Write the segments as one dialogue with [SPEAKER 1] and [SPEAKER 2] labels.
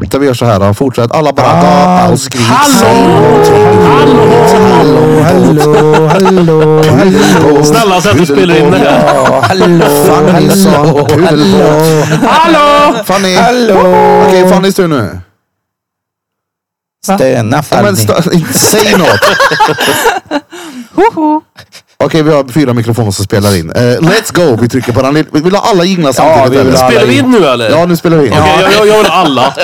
[SPEAKER 1] fortsätter vi gör så här då. Fortsätt alla bara ah, och skrik.
[SPEAKER 2] Hallå, hallå, hallå, hallå.
[SPEAKER 3] Snälla sätt och spela in det här.
[SPEAKER 2] Ja, hallå,
[SPEAKER 1] Fanny
[SPEAKER 2] hallå,
[SPEAKER 1] sa pudelbåt.
[SPEAKER 3] Hallå!
[SPEAKER 1] Fanny.
[SPEAKER 2] hallå.
[SPEAKER 1] Okej Fannys tur nu.
[SPEAKER 2] Stöna
[SPEAKER 1] Ja, men
[SPEAKER 2] Fanny.
[SPEAKER 1] stå- inte säg något.
[SPEAKER 4] Hoho.
[SPEAKER 1] Okej vi har fyra mikrofoner som spelar in. Eh, let's go. Vi trycker på den. Vi vill ha alla jinglar
[SPEAKER 2] Ja, vi
[SPEAKER 1] samtidigt.
[SPEAKER 2] vill
[SPEAKER 1] eller?
[SPEAKER 2] ha-
[SPEAKER 3] Spelar vi in nu eller?
[SPEAKER 1] Ja nu spelar vi in.
[SPEAKER 3] Okej, jag, jag, jag vill ha alla.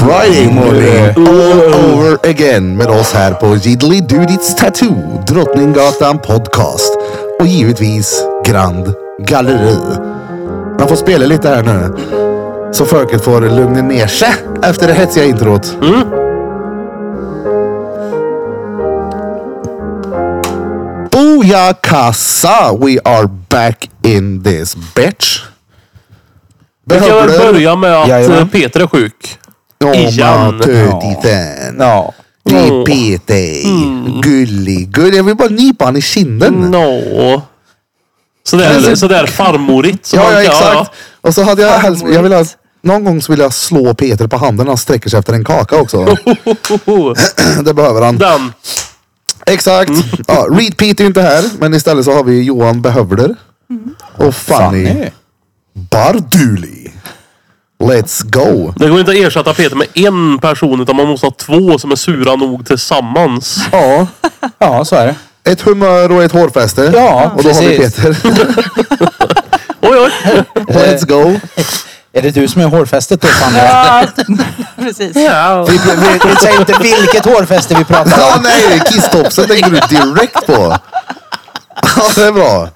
[SPEAKER 1] Friday morning all over again med oss här på Jiddly Dudits Tattoo, Drottninggatan Podcast och givetvis Grand Galleri. Man får spela lite här nu så folket får lugna ner sig efter det hetsiga introt.
[SPEAKER 3] Mm.
[SPEAKER 1] Booyah kassa! We are back in this bitch.
[SPEAKER 3] Vi kan väl
[SPEAKER 1] Behöver du-
[SPEAKER 3] börja med att
[SPEAKER 2] Jajamän.
[SPEAKER 3] eh, Peter är sjuk.
[SPEAKER 1] Åman
[SPEAKER 3] Igen.
[SPEAKER 1] tötiten.
[SPEAKER 2] Ja.
[SPEAKER 1] Det Peter. Gullig, gullig. Jag vill bara nypa han i
[SPEAKER 3] Mm.
[SPEAKER 1] kinden.
[SPEAKER 3] No. Sådär, sådär farmorigt. som
[SPEAKER 1] Ja,
[SPEAKER 3] man-
[SPEAKER 1] ja, exakt. Och så hade jag helst, jag vill ha,
[SPEAKER 4] roligt.
[SPEAKER 1] någon gång så vill jag slå Peter på handen när han sträcker sig efter en kaka också. det behöver han.
[SPEAKER 3] Den.
[SPEAKER 1] Exakt. Ja, Reed Pete är ju inte här, men istället så har vi Johan Behövler. Och Fanny,
[SPEAKER 2] Fanny.
[SPEAKER 1] Barduli. Let's go.
[SPEAKER 3] Det går inte att ersätta Peter med en person utan man måste ha två som är sura nog tillsammans.
[SPEAKER 2] Ja. Ja, så är det.
[SPEAKER 1] Ett humör och ett hårfäste.
[SPEAKER 2] Ja,
[SPEAKER 1] och då har vi
[SPEAKER 2] precis.
[SPEAKER 1] Peter.
[SPEAKER 3] Oj, oj.
[SPEAKER 1] Let's go.
[SPEAKER 2] Är det du som är hårfästet då Fanny?
[SPEAKER 4] Ja, precis.
[SPEAKER 2] Vi, vi, vi säger inte vilket hårfäste vi pratar
[SPEAKER 1] Ja,
[SPEAKER 2] om.
[SPEAKER 1] nej, kisstopsen tänker du direkt på. Ja, det är bra.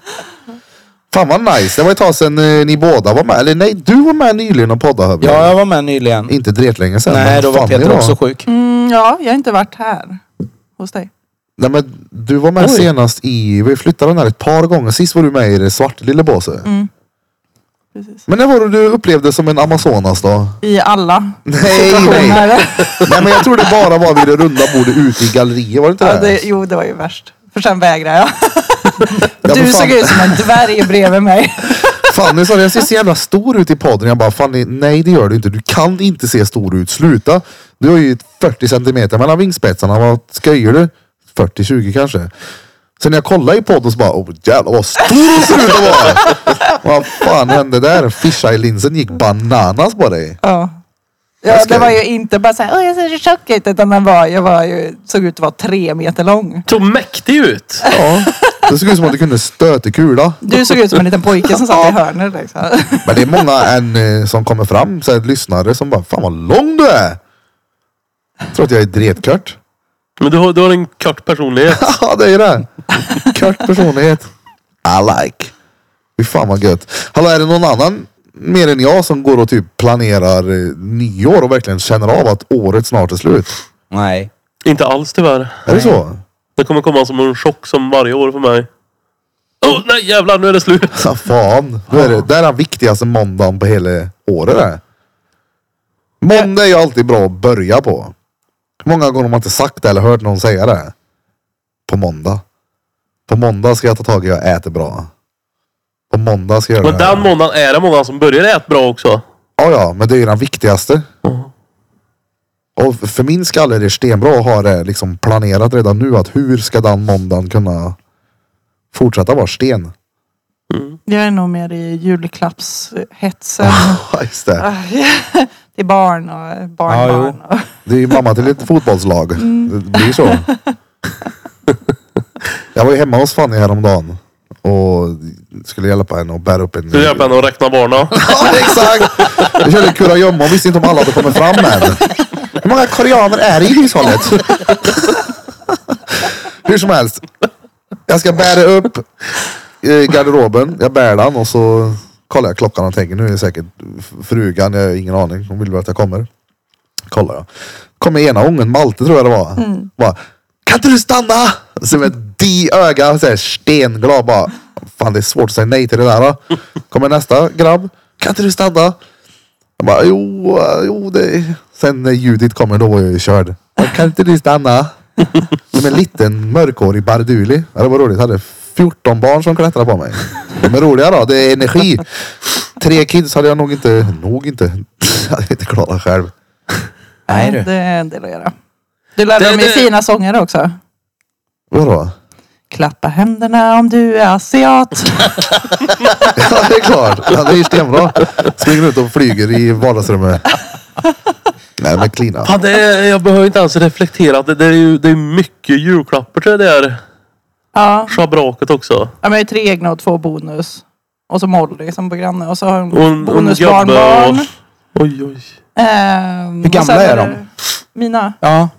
[SPEAKER 1] Fan vad nice. Det var ett tag sedan eh, ni båda var med. Eller nej, du var med nyligen och poddade Hövling.
[SPEAKER 2] Ja, jag var med nyligen.
[SPEAKER 1] Inte dretlänge sedan.
[SPEAKER 2] Nej,
[SPEAKER 1] men
[SPEAKER 2] då var
[SPEAKER 1] fan,
[SPEAKER 2] Peter
[SPEAKER 1] det
[SPEAKER 2] också sjuk.
[SPEAKER 4] Mm, ja, jag har inte varit här hos dig.
[SPEAKER 1] Nej, men du var med
[SPEAKER 2] Oj.
[SPEAKER 1] senast i, vi flyttade den här ett par gånger. Sist var du med i det svart lilla båset.
[SPEAKER 4] Precis.
[SPEAKER 1] Men när var det du upplevde som en Amazonas då?
[SPEAKER 4] I alla
[SPEAKER 1] Nej, nej. nej, men jag tror det bara var vid det runda bordet ute i galleriet. Var det inte
[SPEAKER 4] Ja,
[SPEAKER 1] det?
[SPEAKER 4] det, jo, det var ju värst. För sen vägrade jag.
[SPEAKER 1] men
[SPEAKER 4] Du
[SPEAKER 1] fan.
[SPEAKER 4] såg ut som en dvärg bredvid mig.
[SPEAKER 1] Fanny sa det, jag ser så jävla stor ut i podden. Jag bara, Fanny, nej det gör du inte. Du kan inte se stor ut. Sluta. Du har ju 40 centimeter mellan vingspetsarna. Vad skojar du? 40-20 kanske. Sen när jag kollade i podden så bara, åh jävlar vad stor du ser ut att vara. vad fan hände där? Fisheye-linsen gick bananas på dig.
[SPEAKER 4] Ja. Ja, det var ju inte bara så här, "Åh, jag ser så tjock ut. Utan den var, jag var ju, såg ut att vara tre meter lång.
[SPEAKER 3] Såg mäktig ut.
[SPEAKER 1] Ja. Det såg ut som att du kunde stöta kula.
[SPEAKER 4] Du såg ut som en liten pojke som satt i hörnet liksom.
[SPEAKER 1] Men det är många en, eh, som kommer fram, så här, lyssnare som bara, fan vad lång du är. Tror att jag är dretkört.
[SPEAKER 3] Men du har, du har en kort personlighet.
[SPEAKER 1] Ja, det är det. Kort personlighet. I like. Fy fan vad gött. Hallå, är det någon annan mer än jag som går och typ planerar eh, nyår och verkligen känner av att året snart är slut?
[SPEAKER 2] Nej.
[SPEAKER 3] Inte alls tyvärr.
[SPEAKER 1] Är det så?
[SPEAKER 3] Det kommer komma som en chock som varje år för mig. Oh, nej jävlar nu är det slut.
[SPEAKER 1] Ja, fan. Det är, det, det är den viktigaste måndagen på hela året. Det. Måndag är ju alltid bra att börja på. Hur många gånger har man inte sagt det eller hört någon säga det? På måndag. På måndag ska jag ta tag i att jag äter bra. På måndag ska jag göra
[SPEAKER 3] Men
[SPEAKER 1] det här.
[SPEAKER 3] den månaden är det många som börjar äta bra också.
[SPEAKER 1] Ja, ja, men det är ju den viktigaste. Och för min skalle är det stenbra att ha det liksom planerat redan nu att hur ska den måndagen kunna fortsätta vara sten?
[SPEAKER 4] Jag är nog mer i julklappshetsen.
[SPEAKER 1] Ja, Just det.
[SPEAKER 4] Till barn och barnbarn. och-
[SPEAKER 1] det är ju mamma till ett fotbollslag. Det blir så. Jag var ju hemma hos Fanny häromdagen och skulle hjälpa henne att bära upp en...
[SPEAKER 3] Du hjälper henne att räkna barnen.
[SPEAKER 1] Ja, exakt! Jag körde kurragömma och visste inte om alla hade kommit fram än. Hur många koreaner är det i hushållet? Hur som helst. Jag ska bära upp eh, garderoben. Jag bär den och så kollar jag klockan och tänker nu är det säkert frugan. Jag har ingen aning. Hon vill väl att jag kommer. Kollar jag. Kommer ena ången, Malte tror jag det var. Bara, kan inte du stanna? Som ett di öga, så här stenglad bara. Fan det är svårt att säga nej till det där. då. Kommer nästa grabb. Kan inte du stanna? Jag bara, jo, eh, jo det. Sen när ljudet kommer då var jag ju körd. Jag kan inte du stanna? Som en liten mörkhårig barduli. Ja, det var roligt. Jag hade 14 barn som klättrade på mig. De är roliga då. Det är energi. Tre kids hade jag nog inte, nog inte, jag hade inte klarat själv.
[SPEAKER 2] Nej
[SPEAKER 4] Det
[SPEAKER 2] du.
[SPEAKER 4] är en del att göra. Du lär
[SPEAKER 3] Det-
[SPEAKER 4] dig med
[SPEAKER 3] det-
[SPEAKER 4] fina sånger också.
[SPEAKER 1] Vadå?
[SPEAKER 4] Klappa händerna om du är asiat.
[SPEAKER 1] Ja, det är klart. Ja, det är ju stenbra. Springer ut och flyger i vardagsrummet. Nej, men klina.
[SPEAKER 3] Fan, det är, jag behöver inte ens reflektera. Det, det är ju det är mycket julklappar till det där
[SPEAKER 4] Ja.
[SPEAKER 3] schabraket också.
[SPEAKER 4] Ja, men jag har ju tre egna och två bonus. Och så Molly som bor granne och så har hon
[SPEAKER 3] Och en, och en gubbe och...
[SPEAKER 4] bonusbarnbarn.
[SPEAKER 3] Oj, oj.
[SPEAKER 4] Ehm,
[SPEAKER 2] Hur
[SPEAKER 4] och sen
[SPEAKER 2] gamla är
[SPEAKER 4] det- Mina?
[SPEAKER 2] Ja.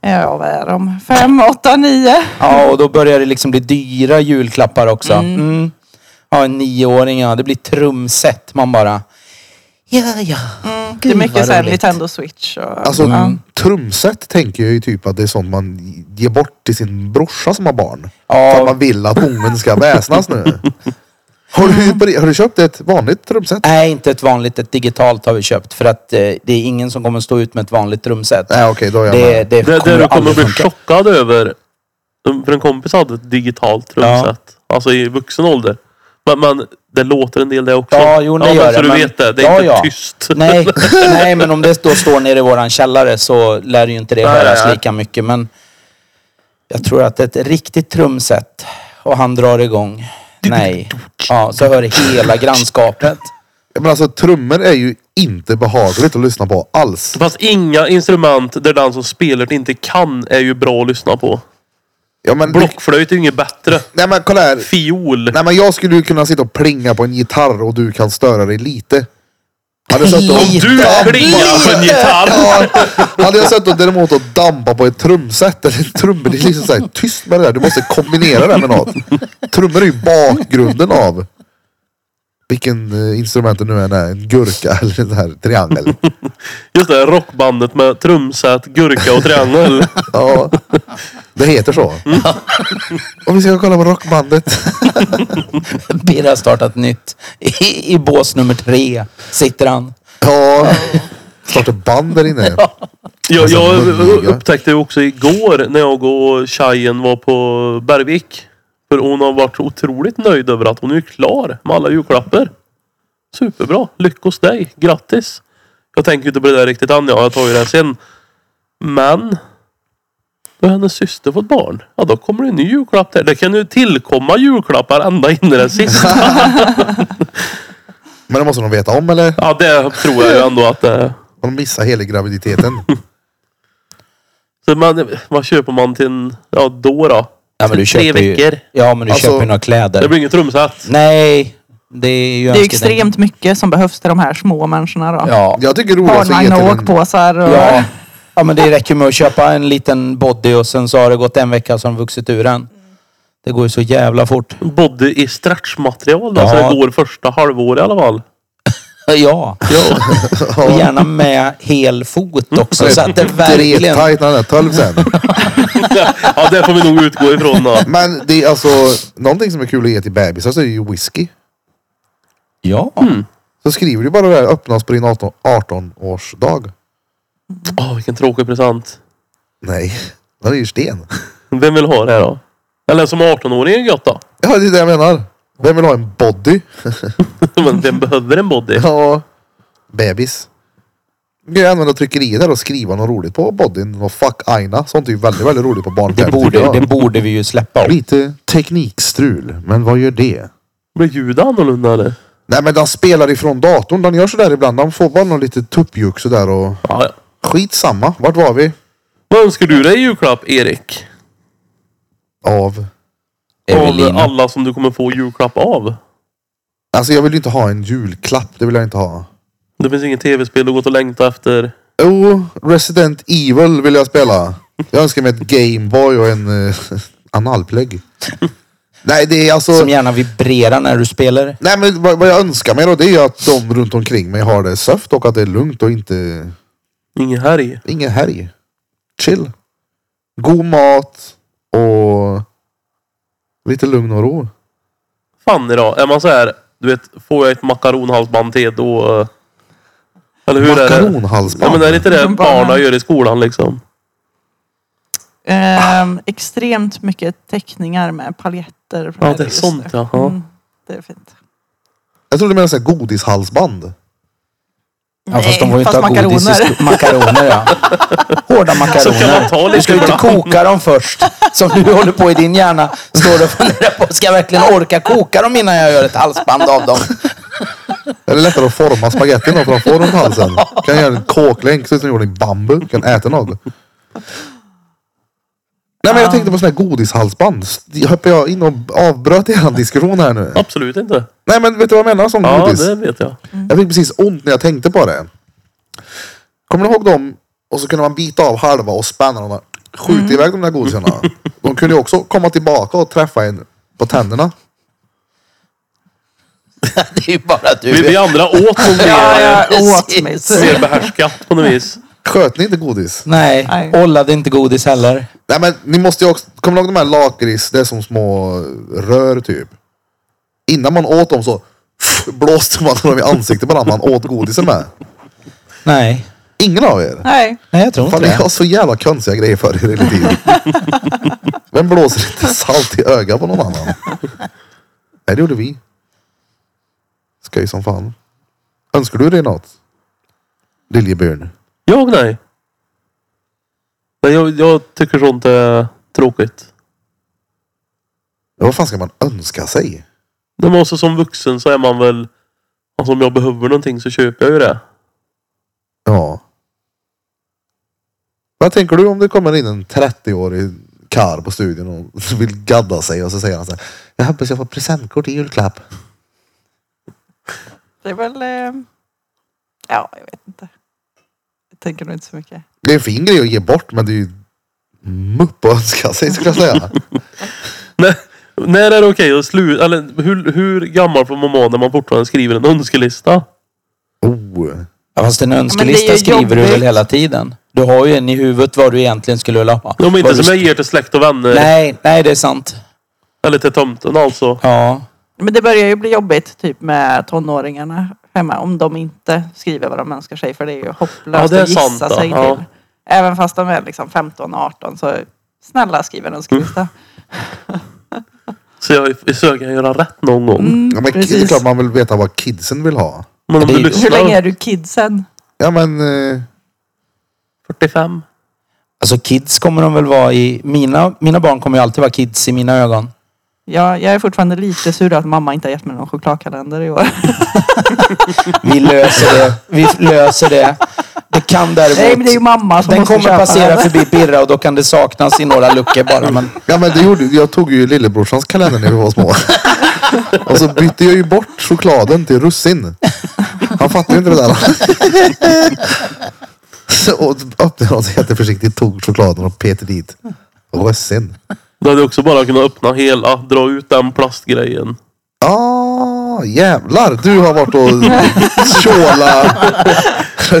[SPEAKER 4] Ja, vad är de? Fem, åtta, nio.
[SPEAKER 2] ja, och då börjar det liksom bli dyra julklappar också. Mm. Ja, en nioåring ja. Det blir trumset. Man bara... Ja, ja.
[SPEAKER 4] Mm. det är
[SPEAKER 2] vad
[SPEAKER 4] mycket så här
[SPEAKER 2] roligt. mm,
[SPEAKER 4] Nintendo Switch och...
[SPEAKER 1] Alltså
[SPEAKER 4] ja.
[SPEAKER 1] trumset tänker jag ju typ att det är sånt man ger bort till sin brorsa som har barn.
[SPEAKER 2] Ja.
[SPEAKER 1] För att man vill att ungen ska väsnas nu. Har du, har du köpt ett vanligt trumset?
[SPEAKER 2] Nej, inte ett vanligt. Ett digitalt har vi köpt. För att eh, det är ingen som kommer stå ut med ett vanligt trumset.
[SPEAKER 1] Nej okej, då är jag
[SPEAKER 2] Det,
[SPEAKER 1] med.
[SPEAKER 2] det
[SPEAKER 3] Det, det
[SPEAKER 2] kommer
[SPEAKER 3] du kommer
[SPEAKER 2] aldrig
[SPEAKER 3] bli
[SPEAKER 2] funka.
[SPEAKER 3] chockad över. För en kompis hade ett digitalt trumset. Alltså i vuxen ålder. Men, men det låter en del det också.
[SPEAKER 2] Ja, jo, det
[SPEAKER 3] men
[SPEAKER 2] gör
[SPEAKER 3] Så
[SPEAKER 2] det,
[SPEAKER 3] du
[SPEAKER 2] men-
[SPEAKER 3] vet det. Det är
[SPEAKER 2] Ja,
[SPEAKER 3] inte
[SPEAKER 2] ja.
[SPEAKER 3] tyst.
[SPEAKER 2] Nej, nej, men om det då står nere i våran källare så lär ju inte det
[SPEAKER 3] Nej,
[SPEAKER 2] höras
[SPEAKER 3] nej.
[SPEAKER 2] lika mycket. Men jag tror att ett riktigt trumset och han drar igång. Nej. Ja, så hör hela grannskapet.
[SPEAKER 1] Men alltså trummor är ju inte behagligt att lyssna på alls.
[SPEAKER 3] Fast inga instrument där den som spelar inte kan är ju bra att lyssna på.
[SPEAKER 1] Ja, men,
[SPEAKER 3] Blockflöjt är ju inget bättre.
[SPEAKER 1] nej men kolla här.
[SPEAKER 3] Fiol.
[SPEAKER 1] Nej men jag skulle ju kunna sitta och plinga på en gitarr och du kan störa dig lite. Hade jag suttit och
[SPEAKER 2] Lite.
[SPEAKER 3] Du klingar på en gitarr.
[SPEAKER 1] Ja, hade jag suttit däremot och dampa på ett trumset eller en trummor. Det är liksom så här, tyst med det där. Du måste kombinera det med något. Trummor är ju bakgrunden av vilken eh, instrument det nu än är. En gurka eller en här triangel.
[SPEAKER 3] Just det, rockbandet med trumset, gurka och triangel.
[SPEAKER 1] Ja, det heter så. Om vi ska kolla på rockbandet.
[SPEAKER 2] Birre har startat nytt. I, I bås nummer tre sitter han.
[SPEAKER 1] Ja, starta band där inne.
[SPEAKER 3] Jag,
[SPEAKER 1] Alltså,
[SPEAKER 3] jag
[SPEAKER 1] mungiga.
[SPEAKER 3] upptäckte ju också igår när jag och tjejen var på Bergvik. För hon har varit så otroligt nöjd över att hon är klar med alla julklappar. Superbra. Lyckos dig. Grattis. Jag tänker ju inte på det där riktigt än. ja. Jag tar ju det här sen. Men. Då har hennes syster fått barn. Ja då kommer det en ny julklapp där. Det kan ju tillkomma julklappar ända in i den sista.
[SPEAKER 1] Men det måste de veta om eller?
[SPEAKER 3] Ja det tror jag ju ändå att eh, det är.
[SPEAKER 1] Har de missat hela graviditeten?
[SPEAKER 3] Så man, vad köper man till en, ja då då?
[SPEAKER 2] Ja, men du
[SPEAKER 3] Tre
[SPEAKER 2] köper ju,
[SPEAKER 3] veckor.
[SPEAKER 2] Ja, men du
[SPEAKER 1] Alltså,
[SPEAKER 2] köper ju några
[SPEAKER 3] Det
[SPEAKER 2] kläder.
[SPEAKER 3] blir inget trumset.
[SPEAKER 2] Nej, det är ju
[SPEAKER 4] Det är ju
[SPEAKER 2] önskedänk.
[SPEAKER 4] extremt mycket som behövs till de här små människorna då.
[SPEAKER 2] Ja.
[SPEAKER 1] Jag tycker roligast att ge
[SPEAKER 4] Barnvagn och
[SPEAKER 1] till en...
[SPEAKER 4] åkpåsar och...
[SPEAKER 2] Ja. ja, men det räcker med att köpa en liten body och sen så har det gått en vecka som vuxit ur den. Det går ju så jävla fort.
[SPEAKER 3] Både i stretchmaterial då, så
[SPEAKER 2] Mm. Ja.
[SPEAKER 3] det går första halvåret i alla fall.
[SPEAKER 2] Ja, och gärna med hel fot också så att det verkligen...
[SPEAKER 1] Dretajt när han är 12 sen.
[SPEAKER 3] Ja, det får vi nog utgå ifrån då.
[SPEAKER 1] Men det är alltså någonting som är kul att ge till bebisar så är det ju whisky.
[SPEAKER 2] Ja,
[SPEAKER 1] Så skriver du bara det här öppnas på din 18 18-årsdag.
[SPEAKER 3] Åh, vilken tråkig present.
[SPEAKER 1] Nej, det är ju sten.
[SPEAKER 3] Vem vill ha det här då? Eller som 18-åring är gött då.
[SPEAKER 1] Ja, det är det jag menar. Vem vill ha en body?
[SPEAKER 3] Men vem behöver en body?
[SPEAKER 1] Ja, bebis. Du kan ju använda tryckeriet där och skriva något roligt på bodyn. Något fuck aina. Sånt är ju väldigt, väldigt roligt på barn.
[SPEAKER 2] det borde, det borde vi ju släppa.
[SPEAKER 1] Lite teknikstrul, men vad gör det?
[SPEAKER 3] Blir ljudet annorlunda eller?
[SPEAKER 1] Nej men den spelar ifrån datorn. Den gör sådär ibland. Den får bara någon lite tuppjuck sådär och
[SPEAKER 3] Ja, ja.
[SPEAKER 1] skitsamma. Vart var vi?
[SPEAKER 3] Vad önskar du dig i julklapp, Erik?
[SPEAKER 1] Av.
[SPEAKER 3] Av
[SPEAKER 2] Evelina.
[SPEAKER 3] alla som du kommer få julklapp av?
[SPEAKER 1] Alltså jag vill ju inte ha en julklapp. Det vill jag inte ha.
[SPEAKER 3] Det finns inget tv-spel du gått och längtat efter.
[SPEAKER 1] Jo, Resident Evil vill jag spela. Jag önskar mig ett Gameboy och en eh, analplugg. Nej, det är alltså...
[SPEAKER 2] Som gärna vibrerar när du spelar.
[SPEAKER 1] Nej, men vad, vad jag önskar mig då det är ju att de runt omkring mig har det söft och att det är lugnt och inte...
[SPEAKER 3] Ingen helg.
[SPEAKER 1] Ingen helg. Chill. God mat och lite lugn och ro.
[SPEAKER 3] Fan idag. Är man så här, du vet, får jag ett makaronhalsband till då... eh, Eller hur är det? Ja,
[SPEAKER 1] Makaronhalsband.
[SPEAKER 3] men är det inte det
[SPEAKER 4] Som barnen.
[SPEAKER 3] barnen gör i skolan liksom?
[SPEAKER 4] Ehm, extremt mycket teckningar med paljetter. på
[SPEAKER 3] Ja,
[SPEAKER 4] här
[SPEAKER 3] det är
[SPEAKER 4] registret.
[SPEAKER 3] sånt ja. ja.
[SPEAKER 4] Mm, det är fint.
[SPEAKER 1] Jag trodde du menade så här godishalsband.
[SPEAKER 2] Ja, fast de får ju inte
[SPEAKER 4] fast
[SPEAKER 2] ha godis i
[SPEAKER 4] makaroner.
[SPEAKER 2] sko- Makaroner ja. Hårda
[SPEAKER 3] man ta
[SPEAKER 2] makaroner.
[SPEAKER 3] lite
[SPEAKER 2] Du ska ju inte
[SPEAKER 3] ibland.
[SPEAKER 2] koka dem först. Som du håller på i din hjärna. Står du och funderar på. Ska jag verkligen orka koka dem innan jag gör ett halsband av dem?
[SPEAKER 1] Är det lättare att forma spagettin då för att få runt halsen? Kan jag göra en kåklänk så som gjord i bambu. Kan äta något. Nej men jag tänkte på sådana här godishalsband. Hoppar jag in och avbröt er diskussion här nu?
[SPEAKER 3] Absolut inte.
[SPEAKER 2] Mm,
[SPEAKER 1] Nej men vet du vad jag menar som
[SPEAKER 3] Ja,
[SPEAKER 1] godis?
[SPEAKER 3] det vet jag.
[SPEAKER 1] Jag fick precis ont när jag tänkte på det. Kommer ni ihåg dem? Och så kunde man bita av halva och spänna dem. och Skjuta
[SPEAKER 3] Mm.
[SPEAKER 1] iväg de där godisarna. De kunde ju också komma tillbaka och träffa en på tänderna.
[SPEAKER 2] Det är ju bara du.
[SPEAKER 3] Vi, vi andra åt nog
[SPEAKER 4] Ja,
[SPEAKER 3] mer,
[SPEAKER 4] jag åt mig.
[SPEAKER 2] Precis.
[SPEAKER 4] typ.
[SPEAKER 3] mer behärskat på något vis.
[SPEAKER 1] Sköt ni inte godis?
[SPEAKER 2] Nej,
[SPEAKER 4] Nej.
[SPEAKER 2] ollade inte godis heller.
[SPEAKER 1] Nej men ni måste ju också, kommer ni ihåg de här lakrits, det är som små rör typ. Innan man åt dem så blåste man dem i ansiktet på den man åt godisen med.
[SPEAKER 2] Nej,
[SPEAKER 1] Ingen av er.
[SPEAKER 4] Nej,
[SPEAKER 2] Nej jag tror inte
[SPEAKER 1] Fan ni
[SPEAKER 2] det.
[SPEAKER 1] har så jävla konstiga grejer för er hela tiden. Vem blåser lite salt i ögat på någon annan? Nej det gjorde vi. Skoj som fan. Önskar du dig något? Liljebjörn.
[SPEAKER 3] Jag nej. Nej, jag, jag tycker sånt är tråkigt.
[SPEAKER 1] Ja, Vad fan ska man önska sig?
[SPEAKER 3] Det måste som vuxen så är man väl... Alltså om jag behöver någonting så köper jag ju det.
[SPEAKER 1] Ja. Vad tänker du om det kommer in en 30-årig karl på studion och vill gadda sig och så säger han så här. Jag hoppas jag får presentkort i julklapp.
[SPEAKER 4] det är väl... eh, Ja, jag vet inte. Jag tänker nog inte så mycket.
[SPEAKER 1] Det är en fin grej att ge bort men det är ju mupp att önska sig skulle jag säga.
[SPEAKER 3] Nej, när är det okej att sluta? Eller hur, hur gammal får man vara när man fortfarande skriver en önskelista?
[SPEAKER 1] Oh.
[SPEAKER 2] Ja, fast en
[SPEAKER 4] Men det är
[SPEAKER 2] önskelista
[SPEAKER 4] ju
[SPEAKER 2] skriver du
[SPEAKER 4] jobbigt.
[SPEAKER 2] väl hela tiden? Du har ju en i huvudet vad du egentligen skulle vilja ha.
[SPEAKER 3] Om
[SPEAKER 2] Vad
[SPEAKER 3] inte
[SPEAKER 2] du
[SPEAKER 3] som jag
[SPEAKER 2] sk-
[SPEAKER 3] ger till släkt och vänner.
[SPEAKER 2] Nej, nej det är sant.
[SPEAKER 3] Eller till tomten alltså.
[SPEAKER 2] Ja.
[SPEAKER 4] Men det börjar ju bli jobbigt typ med tonåringarna hemma om de inte skriver vad de önskar sig för det är ju hopplöst
[SPEAKER 3] Ja, det är
[SPEAKER 4] att gissa
[SPEAKER 3] sant, då.
[SPEAKER 4] sig
[SPEAKER 3] Ja.
[SPEAKER 4] till. Även fast de är liksom 15-18 så snälla skriv en
[SPEAKER 3] Mm.
[SPEAKER 4] önskelista.
[SPEAKER 3] Så jag försöker jag göra rätt någon gång.
[SPEAKER 1] Ja, men det är
[SPEAKER 4] precis.
[SPEAKER 1] klart man vill veta vad kidsen vill ha.
[SPEAKER 3] Men om
[SPEAKER 2] Det är
[SPEAKER 3] du
[SPEAKER 2] ju-
[SPEAKER 4] Hur länge
[SPEAKER 3] lyssnar.
[SPEAKER 4] är du kidsen?
[SPEAKER 1] Ja men eh,
[SPEAKER 3] 45.
[SPEAKER 2] Alltså kids kommer de väl vara i... Mina, mina barn kommer ju alltid vara kids i mina ögon.
[SPEAKER 4] Ja, jag är fortfarande lite sur att mamma inte har gett mig någon chokladkalender i år.
[SPEAKER 2] Vi löser det. Vi löser det. Det kan däremot...
[SPEAKER 4] Nej, men det är ju mamma som
[SPEAKER 2] den
[SPEAKER 4] måste
[SPEAKER 2] kommer
[SPEAKER 4] köpa
[SPEAKER 2] passera
[SPEAKER 4] den.
[SPEAKER 2] förbi Birra och då kan det saknas i några luckor bara. Men
[SPEAKER 1] Ja men det gjorde, jag tog ju lillebrorsans kalender när vi var små. Och så bytte jag ju bort chokladen till russin. Han fattade ju inte det där. Så och öppnade han sig jätteförsiktigt, tog chokladen och petade dit. Russin.
[SPEAKER 3] Då hade jag också bara kunnat öppna hela, dra ut den plastgrejen.
[SPEAKER 1] Ah, jävlar. Du har varit och tjåla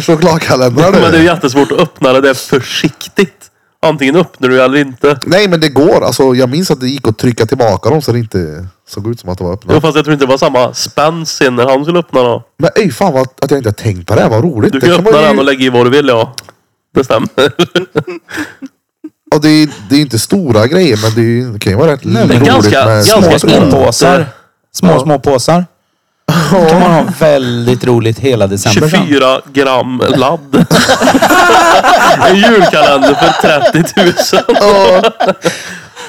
[SPEAKER 1] chokladkalendrar
[SPEAKER 3] Men det är
[SPEAKER 1] du.
[SPEAKER 3] jättesvårt att öppna det där försiktigt. Antingen öppnar du eller inte.
[SPEAKER 1] Nej men det går. Alltså, jag minns att det gick att trycka tillbaka dem så det inte såg ut som att det var
[SPEAKER 3] Ja.
[SPEAKER 1] öppna.
[SPEAKER 3] Fast jag tror inte det var samma spänn sen när han skulle öppna då.
[SPEAKER 1] Men ej fan vad, att jag inte har tänkt på det. här. Vad roligt.
[SPEAKER 3] Du
[SPEAKER 1] Det
[SPEAKER 3] kan
[SPEAKER 1] kan man
[SPEAKER 3] öppna
[SPEAKER 1] ju-
[SPEAKER 3] den och lägga i vad du vill ja. Det stämmer.
[SPEAKER 1] Ja, det, är, det är inte stora grejer men det, är, ju- det kan ju vara rätt
[SPEAKER 2] men
[SPEAKER 1] roligt
[SPEAKER 3] ganska-
[SPEAKER 1] med
[SPEAKER 3] ganska
[SPEAKER 1] små
[SPEAKER 2] små,
[SPEAKER 3] tror
[SPEAKER 2] små
[SPEAKER 1] prylar.
[SPEAKER 3] inte.
[SPEAKER 2] påsar. Små, små påsar. Då kan man ha väldigt roligt hela december sen.
[SPEAKER 3] 24 gram ladd. en julkalender för 30 000.
[SPEAKER 1] Ja,
[SPEAKER 2] Och
[SPEAKER 3] Nej,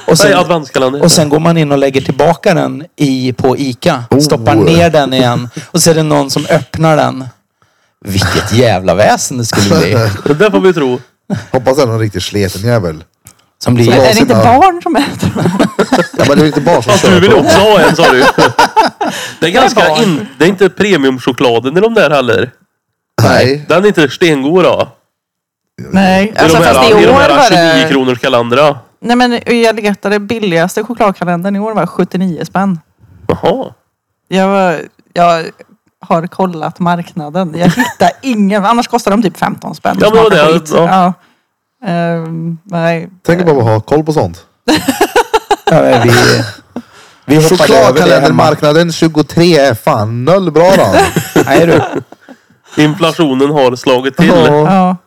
[SPEAKER 3] alltså-
[SPEAKER 2] sen,
[SPEAKER 3] adventskalender.
[SPEAKER 2] och sen går man in och lägger tillbaka den i, på Ica. Stoppar
[SPEAKER 1] Oh.
[SPEAKER 2] ner den igen. Och så är det någon som öppnar den. Vilket jävla väsen det skulle bli.
[SPEAKER 3] Det där får vi tro.
[SPEAKER 1] hoppas det är någon riktigt sleten jävel.
[SPEAKER 2] Som blir
[SPEAKER 4] är
[SPEAKER 1] Ja,
[SPEAKER 4] det inte
[SPEAKER 1] sina-
[SPEAKER 4] barn som äter dem?
[SPEAKER 1] Ja, men det är inte bara som
[SPEAKER 3] Fast du
[SPEAKER 1] kör
[SPEAKER 3] vill
[SPEAKER 1] på.
[SPEAKER 3] också ha en sa du. Det är ganska
[SPEAKER 4] barn.
[SPEAKER 3] in, Det är inte premiumchokladen i de där heller.
[SPEAKER 1] Nej.
[SPEAKER 3] Den är inte stengod då.
[SPEAKER 4] Nej,
[SPEAKER 3] I de
[SPEAKER 4] alltså fast i
[SPEAKER 3] här, i de
[SPEAKER 4] år
[SPEAKER 3] här
[SPEAKER 4] var
[SPEAKER 3] 29
[SPEAKER 4] det...
[SPEAKER 3] kronors kalendrar.
[SPEAKER 4] Nej men jag letade billigaste chokladkalendern i år var 79 spänn.
[SPEAKER 3] Jaha.
[SPEAKER 4] Jag, var, jag har kollat marknaden. Jag hittar ingen. Annars kostar de typ 15 spänn.
[SPEAKER 3] Ja, men det var
[SPEAKER 4] Smakar
[SPEAKER 3] det.
[SPEAKER 4] skit.
[SPEAKER 3] Ja.
[SPEAKER 4] Ja. Ehm, nej.
[SPEAKER 1] Tänk bara att ha koll på sånt.
[SPEAKER 2] Ja, men vi, vi hoppade över det hemma.
[SPEAKER 1] Chokladkalendermarknaden 23 är fan noll bra då.
[SPEAKER 2] Nej du.
[SPEAKER 3] Inflationen har slagit till.
[SPEAKER 1] Ja.
[SPEAKER 4] Ja.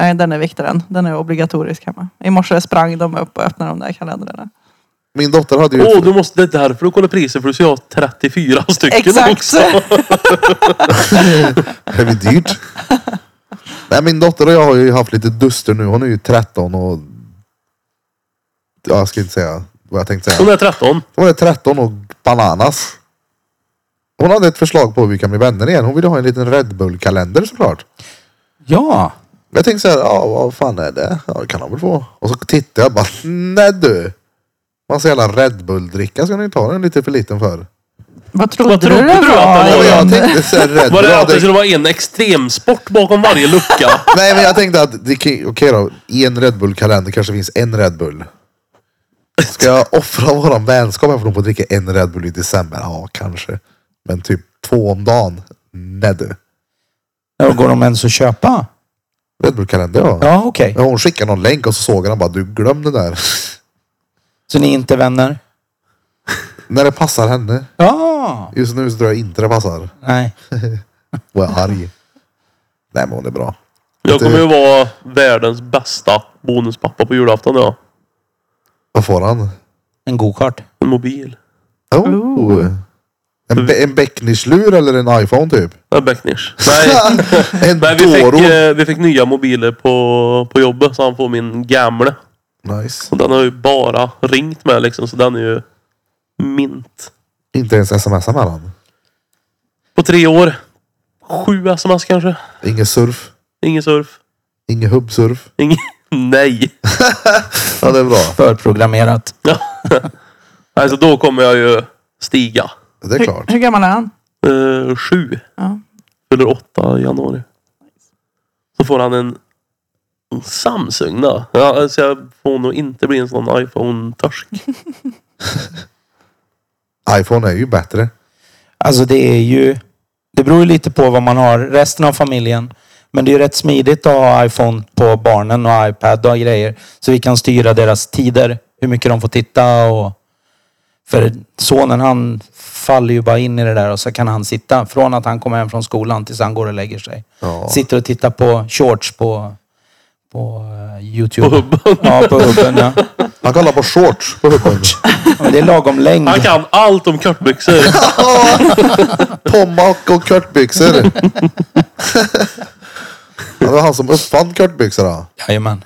[SPEAKER 4] Nej, den är viktigare. Den är obligatorisk hemma. I morse sprang de upp och öppnade de där kalendrarna.
[SPEAKER 1] Min dotter hade ju...
[SPEAKER 3] Åh, du måste, det är därför du kollar priser för du ska ha 34 stycken
[SPEAKER 4] Exakt.
[SPEAKER 3] också.
[SPEAKER 1] Det blir dyrt. Nej, min dotter och jag har ju haft lite duster nu. Hon är ju 13 och... Ja, jag ska inte säga vad jag tänkte
[SPEAKER 3] Hon
[SPEAKER 1] säga.
[SPEAKER 3] är 13.
[SPEAKER 1] Hon är 13 och bananas. Hon hade ett förslag på hur vi kan bli vänner igen. Hon ville ha en liten Red Bull-kalender såklart.
[SPEAKER 2] Ja.
[SPEAKER 1] Jag tänkte så här, ja vad fan är det? Ja det kan han väl få. Och så tittade jag bara, nej du. Massa jävla Red Bull-dricka ska ni ta den lite för liten för.
[SPEAKER 4] Vad trodde,
[SPEAKER 3] Vad trodde du att
[SPEAKER 4] det
[SPEAKER 3] det
[SPEAKER 4] var?
[SPEAKER 3] var?
[SPEAKER 1] Och
[SPEAKER 4] igen?
[SPEAKER 1] jag tänkte så här, Red
[SPEAKER 3] Mm. Var
[SPEAKER 1] Bull.
[SPEAKER 3] det att
[SPEAKER 1] ja,
[SPEAKER 3] det
[SPEAKER 1] det-
[SPEAKER 3] skulle vara en extremsport bakom varje lucka?
[SPEAKER 1] Nej men jag tänkte att, det kan- okej då, i en Red Bull-kalender kanske finns en Red Bull. Ska jag offra våran vänskap här för att få dricka en Red Bull i december? Ja kanske. Men typ två om dagen? Nej du.
[SPEAKER 2] Ja, Går de ens att köpa?
[SPEAKER 1] Red Bull-kalender ja.
[SPEAKER 2] Ja, okej.
[SPEAKER 1] Ja, Hon skickade någon länk och så såg jag den bara, du glöm det där.
[SPEAKER 2] Så ni är inte vänner?
[SPEAKER 1] När det passar henne.
[SPEAKER 2] Ja.
[SPEAKER 1] Just nu så tror jag inte det passar.
[SPEAKER 2] Nej.
[SPEAKER 1] Och jag är arg. Nej men hon är bra.
[SPEAKER 3] Jag kommer ju vara världens bästa bonuspappa på julafton ja.
[SPEAKER 1] Vad får han?
[SPEAKER 2] En go-kart.
[SPEAKER 3] En mobil.
[SPEAKER 1] Oh. En, be- en Becknislur eller en iPhone typ?
[SPEAKER 3] En Beckners. Nej.
[SPEAKER 1] en
[SPEAKER 3] Nej, vi
[SPEAKER 1] Doro.
[SPEAKER 3] fick, eh, vi fick nya mobiler på, på jobbet så han får min gamla.
[SPEAKER 1] Nice.
[SPEAKER 3] Och den har ju bara ringt med liksom så den är ju mint.
[SPEAKER 1] Inte ens smsar med han.
[SPEAKER 3] På tre år. Sju sms kanske.
[SPEAKER 1] Ingen surf.
[SPEAKER 3] Ingen surf.
[SPEAKER 1] Ingen hubbsurf.
[SPEAKER 3] Ingen... Nej.
[SPEAKER 1] Ja det är bra.
[SPEAKER 2] Förprogrammerat.
[SPEAKER 3] Alltså då kommer jag ju stiga.
[SPEAKER 1] Det är klart.
[SPEAKER 4] Hur, hur gammal är han?
[SPEAKER 3] Eh, sju.
[SPEAKER 4] Ja.
[SPEAKER 3] Fyller åtta i januari. Så får han en, en Samsung då. Ja, alltså jag får nog inte bli en sån iPhone-törsk.
[SPEAKER 1] iPhone är ju bättre.
[SPEAKER 2] Alltså det är ju... Det beror ju lite på vad man har. Resten av familjen. Men det är ju rätt smidigt att ha iPhone på barnen och iPad och grejer. Så vi kan styra deras tider. Hur mycket de får titta och... För sonen han faller ju bara in i det där och så kan han sitta från att han kommer hem från skolan tills han går och lägger sig.
[SPEAKER 1] Ja.
[SPEAKER 2] Sitter och tittar på shorts på, på eh, YouTube.
[SPEAKER 3] På hubben.
[SPEAKER 2] Ja, på hubben. Ja.
[SPEAKER 1] Han kollar på shorts på hubben.
[SPEAKER 2] Men det är lagom längd.
[SPEAKER 3] Han kan allt om kortbyxor.
[SPEAKER 1] Tomahawk och kurtbyxor. Ja, det var han som uppfann kurtbyxor då.
[SPEAKER 2] Jajamän.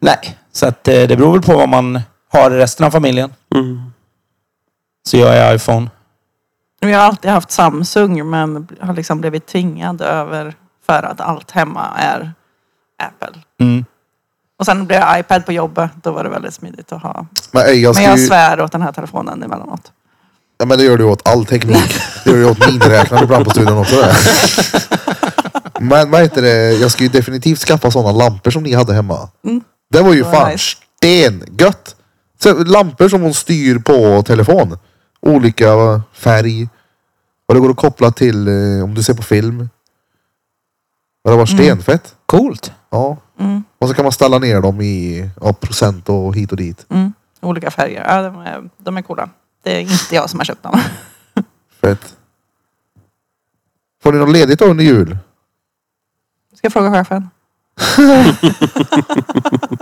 [SPEAKER 2] Nej, så att eh, det beror väl på vad man har i resten av familjen.
[SPEAKER 3] Mm.
[SPEAKER 2] Så jag är iPhone.
[SPEAKER 4] Vi har alltid haft Samsung men har liksom blivit tvingad över för att allt hemma är Apple.
[SPEAKER 2] Mm.
[SPEAKER 4] Och sen blev jag iPad på jobbet. Då var det väldigt smidigt att ha.
[SPEAKER 1] Men, ey, jag
[SPEAKER 4] Men
[SPEAKER 1] ska
[SPEAKER 4] jag
[SPEAKER 1] ju...
[SPEAKER 4] svär åt den här telefonen emellanåt.
[SPEAKER 1] ja, men det gör du åt all teknik. Det gör du åt miniräknare ibland på studion också. Det. Men vad heter det? Jag ska ju definitivt skaffa sådana lampor som ni hade hemma. Mm. Det var ju
[SPEAKER 4] var
[SPEAKER 1] fan
[SPEAKER 4] nice.
[SPEAKER 1] stengött. Så, lampor som hon styr på telefon. Olika färg. Och det går att koppla till eh, om du ser på film. Men det var stenfett.
[SPEAKER 2] Coolt.
[SPEAKER 1] Ja. Och så kan man ställa ner dem i ja, procent och hit och dit.
[SPEAKER 4] Olika färger. Ja, de, är, de är coola. Det är inte jag som har köpt dem.
[SPEAKER 1] Fett. Får ni något ledigt då under jul?
[SPEAKER 4] Ska jag fråga chefen?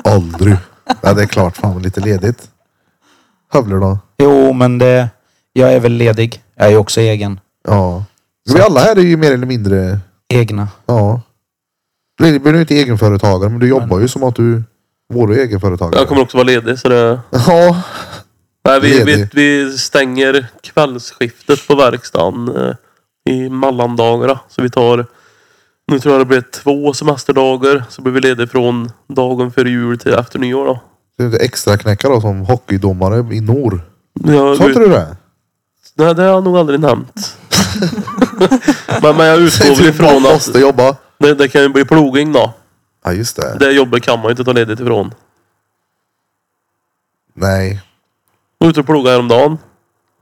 [SPEAKER 1] Aldrig. Ja det är klart fan lite ledigt. Hövler då?
[SPEAKER 2] Jo, men det, jag är väl ledig. Jag är också egen.
[SPEAKER 1] Ja. Vi alla här är ju mer eller mindre,
[SPEAKER 2] Egna.
[SPEAKER 1] ja. Du är du är inte egenföretagare men du jobbar ju som att du vore egenföretagare.
[SPEAKER 3] Jag kommer också vara ledig så det...
[SPEAKER 1] Ja.
[SPEAKER 3] Nej, vi, vi,
[SPEAKER 1] Ledig.
[SPEAKER 3] vi stänger kvällsskiftet på verkstaden eh, i mellandagarna. Så vi tar... Nu tror jag det blir två semesterdagar. Så blir vi lediga från dagen före jul till efter nyår då.
[SPEAKER 1] Så du inte extra knäcka då som hockeydomare i norr.
[SPEAKER 3] Jag,
[SPEAKER 1] Sa inte du det?
[SPEAKER 3] Nej, det har jag nog aldrig nämnt. men, men jag utgår väl ifrån
[SPEAKER 1] Man
[SPEAKER 3] att
[SPEAKER 1] måste jobba.
[SPEAKER 3] det, det kan ju bli ploging då.
[SPEAKER 1] Ja just det.
[SPEAKER 3] Det jobbet kan man ju inte ta ledigt ifrån.
[SPEAKER 1] Nej.
[SPEAKER 3] Jag var ute och plogade häromdagen.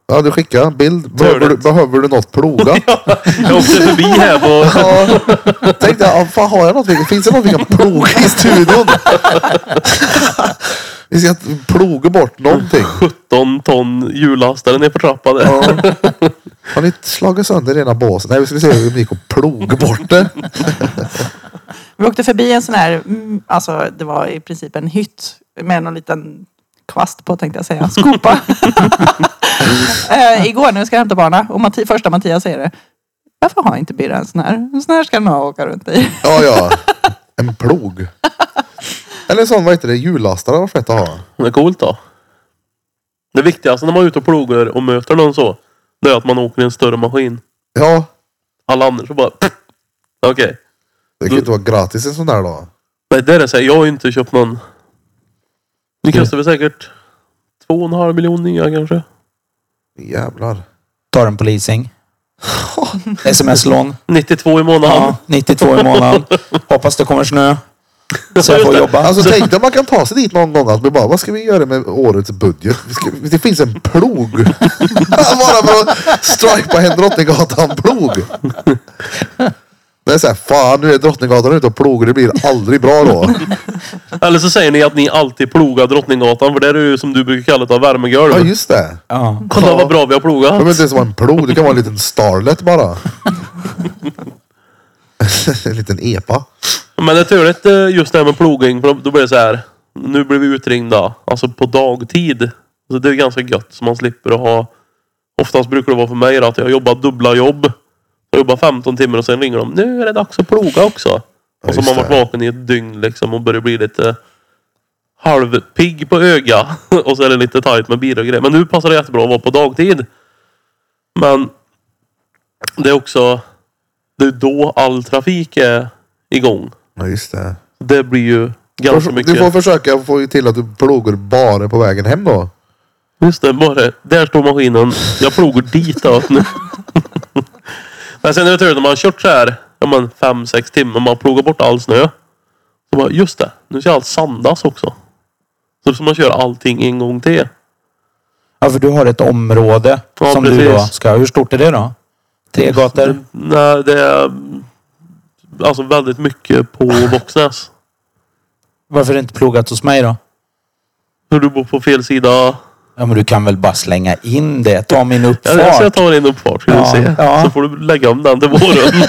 [SPEAKER 1] Ja du skickar en bild. Behöver du,
[SPEAKER 3] Törligt.
[SPEAKER 1] behöver du något ploga?
[SPEAKER 3] Jag åkte förbi här på...
[SPEAKER 1] Ja, tänkte jag, ah, fan har jag något? vi- Finns det något vi kan ploga i studion? Vi ska ploga bort någonting.
[SPEAKER 3] 17 ton hjullastare ner för trappan där.
[SPEAKER 1] Ja. Har ni slagit sönder ena båsen? Nej, vi skulle se hur det gick att ploga bort det.
[SPEAKER 4] Vi åkte förbi en sån här, mm, alltså det var i princip en hytt med någon liten kvast på tänkte jag säga, skopa. eh, igår när vi ska hämta barna och Matti, första Mattias säger det. Varför har inte Birra en sån här? En sån här ska han ha och åka runt i.
[SPEAKER 1] Ja, ja. En plog. Eller sån, vad heter det, hjullastare var fett att ha.
[SPEAKER 3] Det är coolt då. Det viktigaste när man är ute och plogar och möter någon så. Det är att man åker i en större maskin.
[SPEAKER 1] Ja,
[SPEAKER 3] Alla andra så bara... Okej.
[SPEAKER 1] det kan ju inte vara gratis en sån där då.
[SPEAKER 3] Nej det är det så här, Jag har ju inte köpt någon. Det kostar väl säkert två och en halv miljon nya kanske.
[SPEAKER 1] Jävlar.
[SPEAKER 2] Tar den på leasing. Sms-lån.
[SPEAKER 3] 92 i månaden.
[SPEAKER 2] Ja, 92 i månaden. Hoppas det kommer snö. Så jag får jobba.
[SPEAKER 1] Alltså tänk dig om man kan ta sig dit någon gång att vi bara, vad ska vi göra med årets budget? Vi ska, det finns en plog. bara för att stripa en Drottninggatan-plog. Det är såhär, fan nu är Drottninggatan ute och plogar, det blir aldrig bra då.
[SPEAKER 3] Eller så säger ni att ni alltid plogar Drottninggatan för det är ju som du brukar kalla det värmegolv.
[SPEAKER 1] Ja just det.
[SPEAKER 2] Ja.
[SPEAKER 3] Kolla vad bra vi
[SPEAKER 1] Det
[SPEAKER 3] har plogat.
[SPEAKER 1] behöver inte ens vara en plog, det kan vara en liten starlet bara. en liten epa.
[SPEAKER 3] Men det är turligt eh, just det här med plogning. För då- då blir det så här. Nu blir vi utringda. Alltså på dagtid. Så det är ganska gött. Så man slipper att ha. Oftast brukar det vara för mig då, att jag jobbar dubbla jobb. Jag jobbar 15 timmar och sen ringer de. Nu är det dags att ploga också. Och så har
[SPEAKER 1] just
[SPEAKER 3] man varit
[SPEAKER 1] det.
[SPEAKER 3] vaken i ett dygn liksom och börjar bli lite halvpigg på öga. och så är det lite tajt med bilar och grejer. Men nu passar det jättebra att vara på dagtid. Men det är också. Det är då all trafik är igång.
[SPEAKER 1] Ja just det.
[SPEAKER 3] Det blir ju ganska mycket.
[SPEAKER 1] Du får försöka få till att du plogar bara på vägen hem då.
[SPEAKER 3] Just det, bara det. Där står maskinen. Jag plogar dit då. Nu. men sen är det tur när man har kört så här. Ja men fem, sex timmar. Man plogar bort all snö. Så bara, just det. Nu ska allt sandas också. Så ska man köra allting en gång till.
[SPEAKER 2] ja, för du har ett område
[SPEAKER 3] Ja,
[SPEAKER 2] som du då
[SPEAKER 3] precis.
[SPEAKER 2] ska... Hur stort är det då? Tre gator?
[SPEAKER 3] Nej, det är mm, alltså väldigt mycket på Våxnäs.
[SPEAKER 2] Varför är det inte plogat hos mig då?
[SPEAKER 3] Hur du bor på fel sida.
[SPEAKER 2] Ja, men du kan väl bara slänga in det. Ta min
[SPEAKER 3] Ja, jag ska
[SPEAKER 2] uppfart.
[SPEAKER 3] ta in uppfart ska
[SPEAKER 2] Ja,
[SPEAKER 3] du se.
[SPEAKER 2] ja.
[SPEAKER 3] Så får du lägga om den till våren.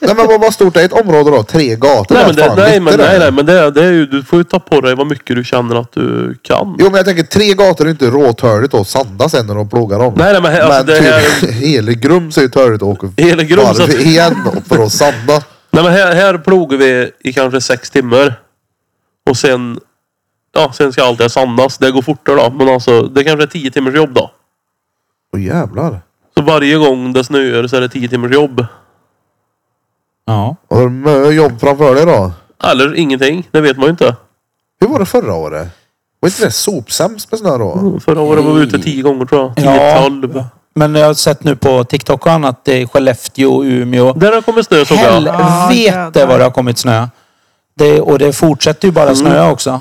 [SPEAKER 1] Nej men vad, vad stort är ett område då? Tre gator?
[SPEAKER 3] Nej men, det,
[SPEAKER 1] Fan,
[SPEAKER 3] nej,
[SPEAKER 1] lite
[SPEAKER 3] men,
[SPEAKER 1] där.
[SPEAKER 3] nej, nej, men det, det är ju, du får ju ta på dig vad mycket du känner att du kan.
[SPEAKER 1] Jo men jag tänker tre gator är inte råtörligt att sanda sen när de plogar dem.
[SPEAKER 3] Nej, nej, men he- alltså, det
[SPEAKER 1] typ.
[SPEAKER 3] här-
[SPEAKER 1] hela Grums är ju törligt att åka
[SPEAKER 3] Helegrums-
[SPEAKER 1] varv igen för att sanda.
[SPEAKER 3] Nej men här, här plogar vi i kanske sex timmar. Och sen, ja sen ska allt det här sandas. Det går fortare då. Men alltså det kanske är tio timmars jobb då.
[SPEAKER 1] Åh jävlar.
[SPEAKER 3] Så varje gång det snöar så är det tio timmars jobb.
[SPEAKER 2] Ja.
[SPEAKER 1] Har du mycket jobb framför dig då?
[SPEAKER 3] Eller ingenting. Det vet man ju inte.
[SPEAKER 1] Hur var det förra året? Var inte det sopsämst med snö då?
[SPEAKER 3] Förra året var vi ute tio gånger tror jag. Tio,
[SPEAKER 2] Ja.
[SPEAKER 3] tolv.
[SPEAKER 2] Men jag har sett nu på TikTok och annat. Det är Skellefteå, Umeå.
[SPEAKER 3] Där har kommit snö såg jag.
[SPEAKER 2] Helvete
[SPEAKER 4] jädrar.
[SPEAKER 2] vad det har kommit snö. Det, och det fortsätter ju
[SPEAKER 3] Mm.
[SPEAKER 2] bara snöa också.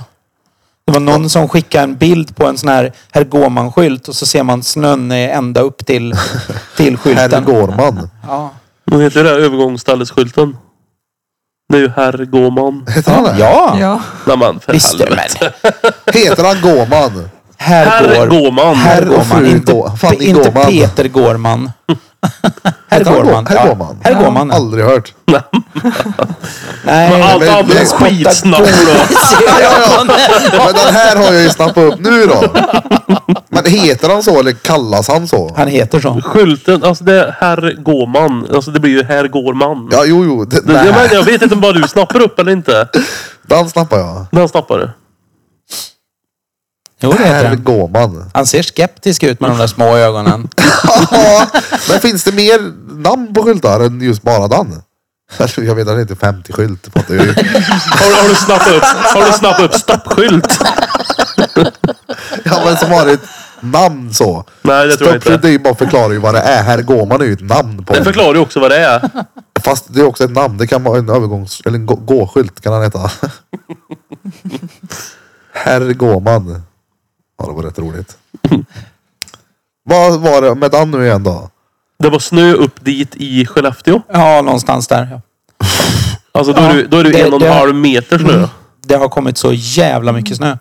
[SPEAKER 2] Det var någon som skickade en bild på en sån här Herr Gåman-skylt och så ser man snön är ända upp till, till
[SPEAKER 1] Herr
[SPEAKER 2] skylten.
[SPEAKER 1] Gårman.
[SPEAKER 2] Ja.
[SPEAKER 3] Vad heter det där övergångsställesskylten? Det är ju herr Gåman.
[SPEAKER 1] Heter han det?
[SPEAKER 2] Ja,
[SPEAKER 4] Ja.
[SPEAKER 3] Nej men för
[SPEAKER 2] visst är det.
[SPEAKER 3] helvete.
[SPEAKER 2] men
[SPEAKER 1] Heter han Gåman?
[SPEAKER 2] Herr
[SPEAKER 3] Herr
[SPEAKER 2] Går-
[SPEAKER 3] Gåman.
[SPEAKER 2] Herr
[SPEAKER 1] Herr och
[SPEAKER 2] Gåman.
[SPEAKER 1] fru
[SPEAKER 2] Inte,
[SPEAKER 1] Gå- Fanny
[SPEAKER 2] inte
[SPEAKER 1] Gåman.
[SPEAKER 2] Peter Gårman. Herr
[SPEAKER 1] Heter han Gå-
[SPEAKER 2] Gårman.
[SPEAKER 1] Herr
[SPEAKER 2] ja.
[SPEAKER 1] Gårman?
[SPEAKER 2] Herr Gårman. ja.
[SPEAKER 1] Aldrig hört.
[SPEAKER 2] Nej.
[SPEAKER 3] Allt
[SPEAKER 1] men
[SPEAKER 3] annat
[SPEAKER 1] det
[SPEAKER 3] är
[SPEAKER 1] är
[SPEAKER 3] skitsnack då.
[SPEAKER 1] Ja, ja, ja. Men den här har jag ju snappat upp nu då. Men heter han så eller kallas han så?
[SPEAKER 2] Han heter så.
[SPEAKER 3] Skylten, alltså det är herr Gåman. Alltså det blir ju herr Gårman.
[SPEAKER 1] Ja, jo, jo. Det,
[SPEAKER 3] Det, jag,
[SPEAKER 1] nej,
[SPEAKER 3] menar, jag vet inte om bara du snappar upp eller inte.
[SPEAKER 1] den snappar jag.
[SPEAKER 3] Den snappar du.
[SPEAKER 2] Jo, det heter
[SPEAKER 1] Herr
[SPEAKER 2] han.
[SPEAKER 1] Gåman.
[SPEAKER 2] Han ser skeptisk ut med de där små ögonen.
[SPEAKER 1] Ja, men finns det mer namn på skyltar än just bara den? Jag vet att det heter 50 skylt. fattar jag ju.
[SPEAKER 3] Har, har du snappat upp, har du snappat upp stappskylt?
[SPEAKER 1] Ja, men som har ett namn så.
[SPEAKER 3] Nej, det tror jag
[SPEAKER 1] Stoppskylt
[SPEAKER 3] inte.
[SPEAKER 1] är ju bara förklarar ju vad det är. Herr Gåman är ju ett namn på
[SPEAKER 3] Det
[SPEAKER 1] den.
[SPEAKER 3] förklarar ju också vad det är.
[SPEAKER 1] Fast det är också ett namn. Det kan vara en övergångs... Eller en gå- gåskylt kan han heta. Herr Gåman. Ja, det var rätt roligt. Vad var det med den nu igen då?
[SPEAKER 3] Det var snö upp dit i Skellefteå.
[SPEAKER 2] Ja, någonstans där. ja.
[SPEAKER 3] Alltså då är du, då är du
[SPEAKER 2] det-
[SPEAKER 3] en och en
[SPEAKER 2] det-
[SPEAKER 3] halv meter snö.
[SPEAKER 2] Det har kommit så jävla mycket snö.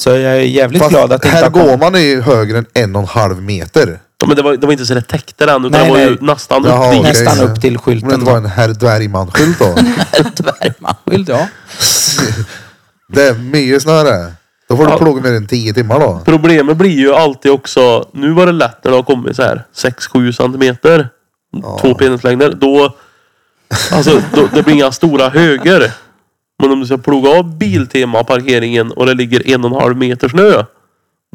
[SPEAKER 2] Så jag är jävligt
[SPEAKER 1] Fast
[SPEAKER 2] glad att det inte
[SPEAKER 1] herr
[SPEAKER 2] har kommit.
[SPEAKER 1] Gåman är ju högre än en och en halv meter.
[SPEAKER 3] Ja, men det var, det var inte så det täckte den utan
[SPEAKER 2] Nej,
[SPEAKER 3] det var ju
[SPEAKER 2] nej.
[SPEAKER 3] nästan
[SPEAKER 1] Jaha,
[SPEAKER 3] upp dit.
[SPEAKER 1] okej.
[SPEAKER 2] Nästan
[SPEAKER 1] så-
[SPEAKER 2] upp
[SPEAKER 1] Om
[SPEAKER 2] till
[SPEAKER 1] det
[SPEAKER 2] skylten.
[SPEAKER 1] inte var en herr Dvärgman-skylt då.
[SPEAKER 2] Dvärgmanskylt, ja.
[SPEAKER 1] det är mycket snöre. Då får du
[SPEAKER 3] Ja.
[SPEAKER 1] plugga mer än 10 timmar då.
[SPEAKER 3] Problemet blir ju alltid också, nu var det lätt när det har kommit så här 6-7 centimeter. Två penislängder. Då, alltså, då, det blir inga stora höger. Men om du ska ploga av Biltema-parkeringen och det ligger en och en halv meter snö.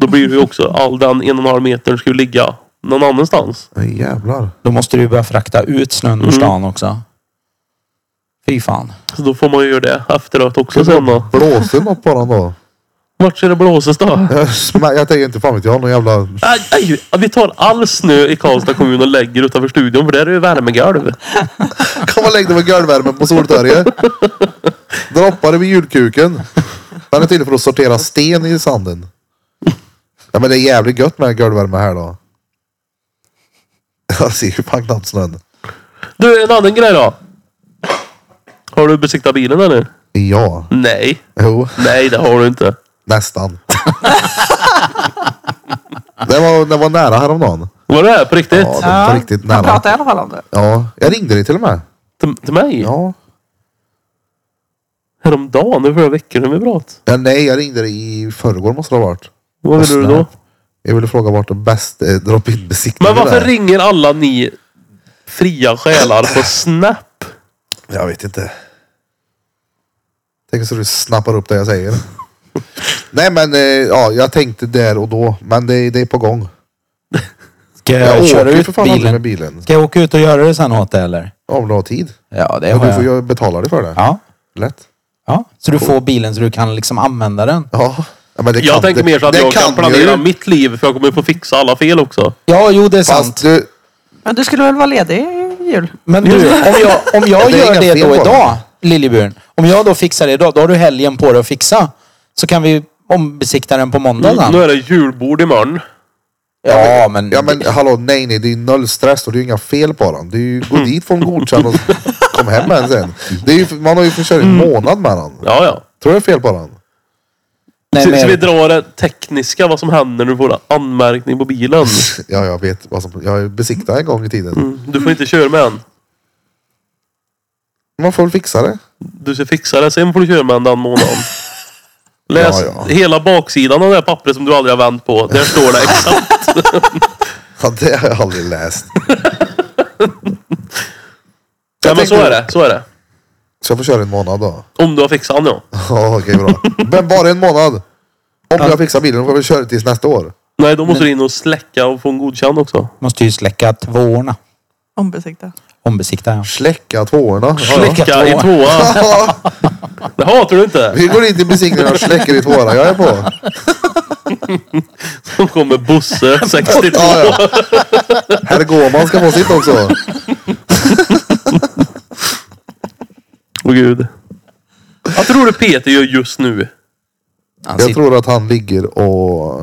[SPEAKER 3] Då blir det ju också, all den en och en halv metern ska ju ligga någon annanstans.
[SPEAKER 1] Nej, jävlar.
[SPEAKER 2] Då måste du ju börja frakta ut snön ur stan också. Fy fan.
[SPEAKER 3] Så då får man ju göra det efteråt också sen då.
[SPEAKER 1] Blåser något på den då?
[SPEAKER 3] Vart ska det blåses då?
[SPEAKER 1] Jag smä- Jag tänker inte fan vet jag. Någon jävla...
[SPEAKER 3] Aj, aj, vi tar all snö i Karlstad kommun och lägger utanför studion för där är det ju värmegolv.
[SPEAKER 1] Kan man lägga det med golvvärmen på Soltorget? Droppar det vid julkuken. Den är till för att sortera sten i sanden. Ja men det är jävligt gött med golvvärme här då. Jag ser ju fan knappt snön.
[SPEAKER 3] Du, en annan grej då. Har du besiktat bilen eller?
[SPEAKER 1] Ja.
[SPEAKER 3] Nej.
[SPEAKER 1] Jo.
[SPEAKER 3] Nej, det har du inte.
[SPEAKER 1] Nästan. det, var, det var nära häromdagen.
[SPEAKER 3] Var det här på riktigt?
[SPEAKER 1] Ja, det var riktigt
[SPEAKER 4] Han
[SPEAKER 1] nära.
[SPEAKER 4] pratar i alla fall om det.
[SPEAKER 1] Ja, jag ringde dig till och med.
[SPEAKER 3] Till, till mig?
[SPEAKER 1] Ja.
[SPEAKER 3] Häromdagen? Det var förra veckan när vi pratade.
[SPEAKER 1] ja nej, jag ringde dig i förrgår måste det ha varit.
[SPEAKER 3] Vad ville du då?
[SPEAKER 1] Jag ville fråga vart den bästa eh, drop-in besiktningen
[SPEAKER 3] Men varför
[SPEAKER 1] är.
[SPEAKER 3] ringer alla ni fria själar på Snap?
[SPEAKER 1] Jag vet inte. Tänk så du snappar upp det jag säger. Nej men eh, ja, jag tänkte där och då. Men det, det är på gång.
[SPEAKER 2] Ska jag,
[SPEAKER 1] Jag,
[SPEAKER 2] köra
[SPEAKER 1] åker ju
[SPEAKER 2] ut
[SPEAKER 1] för fan aldrig med
[SPEAKER 2] bilen?
[SPEAKER 1] bilen.
[SPEAKER 2] Ska jag åka ut och göra det sen åt dig eller?
[SPEAKER 1] Om du har tid.
[SPEAKER 2] Ja, det
[SPEAKER 1] Ja,
[SPEAKER 2] har
[SPEAKER 1] du får
[SPEAKER 2] jag.
[SPEAKER 1] ju betala dig för det.
[SPEAKER 2] Ja.
[SPEAKER 1] Lätt.
[SPEAKER 2] ja. Så du får bilen så du kan liksom använda den.
[SPEAKER 1] Ja. ja men det
[SPEAKER 3] Jag
[SPEAKER 1] kan,
[SPEAKER 3] tänker
[SPEAKER 1] det,
[SPEAKER 3] mer så att
[SPEAKER 1] det
[SPEAKER 3] jag kan
[SPEAKER 1] jag
[SPEAKER 3] planera
[SPEAKER 1] ju.
[SPEAKER 3] mitt liv för jag kommer få fixa alla fel också.
[SPEAKER 2] Ja, jo det är sant.
[SPEAKER 1] Fast du,
[SPEAKER 4] Men du skulle väl vara ledig i jul?
[SPEAKER 2] Men du, om jag, om jag
[SPEAKER 1] Det är
[SPEAKER 2] gör
[SPEAKER 1] inga
[SPEAKER 2] det
[SPEAKER 1] fel
[SPEAKER 2] då
[SPEAKER 1] på
[SPEAKER 2] idag, Liljeburen. Om jag då fixar det idag, då har du helgen på dig att fixa. Så kan vi ombesikta den på måndag
[SPEAKER 3] Nu
[SPEAKER 2] sen.
[SPEAKER 3] är det julbord imorgon.
[SPEAKER 2] Ja, men...
[SPEAKER 1] ja men hallå nej nej det är noll stress och det är ju inga fel på den. Det är ju gå dit få en godkänd och kom hem med den sen. Det är ju, man har ju fått köra en månad med den.
[SPEAKER 3] Ja, ja.
[SPEAKER 1] Tror du det är fel på den?
[SPEAKER 2] nej,
[SPEAKER 3] Så,
[SPEAKER 2] men
[SPEAKER 3] så vi drar det tekniska, vad som händer när du får anmärkning på bilen.
[SPEAKER 1] Ja jag vet vad som, jag besiktade en gång i tiden.
[SPEAKER 3] Du får inte köra med den.
[SPEAKER 1] Man får väl fixa det.
[SPEAKER 3] Du ska fixa det, sen får du köra med den den månaden. Läs
[SPEAKER 1] Ja,
[SPEAKER 3] hela baksidan av det här pappret som du aldrig har vänt på. Där står det exakt.
[SPEAKER 1] Ja, det har jag aldrig läst.
[SPEAKER 3] Nej men
[SPEAKER 1] tänkte-
[SPEAKER 3] så är det, så är det.
[SPEAKER 1] Så jag får köra en månad då?
[SPEAKER 3] Om du har fixat den ja.
[SPEAKER 1] Ja, okej bra. Men bara en månad. Om jag fixar bilen då får vi köra tills nästa år.
[SPEAKER 3] Nej, då måste du in och släcka och få en godkänd också.
[SPEAKER 2] måste ju släcka tvåorna.
[SPEAKER 4] Ombesikta.
[SPEAKER 2] Ombesikta, ja.
[SPEAKER 1] Släcka tvåorna. Ja, ja.
[SPEAKER 3] Släcka i
[SPEAKER 2] tvåa.
[SPEAKER 3] tvåa. Det hatar du inte.
[SPEAKER 1] Vi går in till besiktningen och släcker i tvåorna. Jag är på.
[SPEAKER 3] Då kommer Bosse, 62.
[SPEAKER 1] Ja, ja. Herr Gåman ska få sitt också.
[SPEAKER 3] Åh gud. Vad tror du Peter gör just nu?
[SPEAKER 2] Han
[SPEAKER 1] Jag
[SPEAKER 2] sitter,
[SPEAKER 1] tror att han ligger och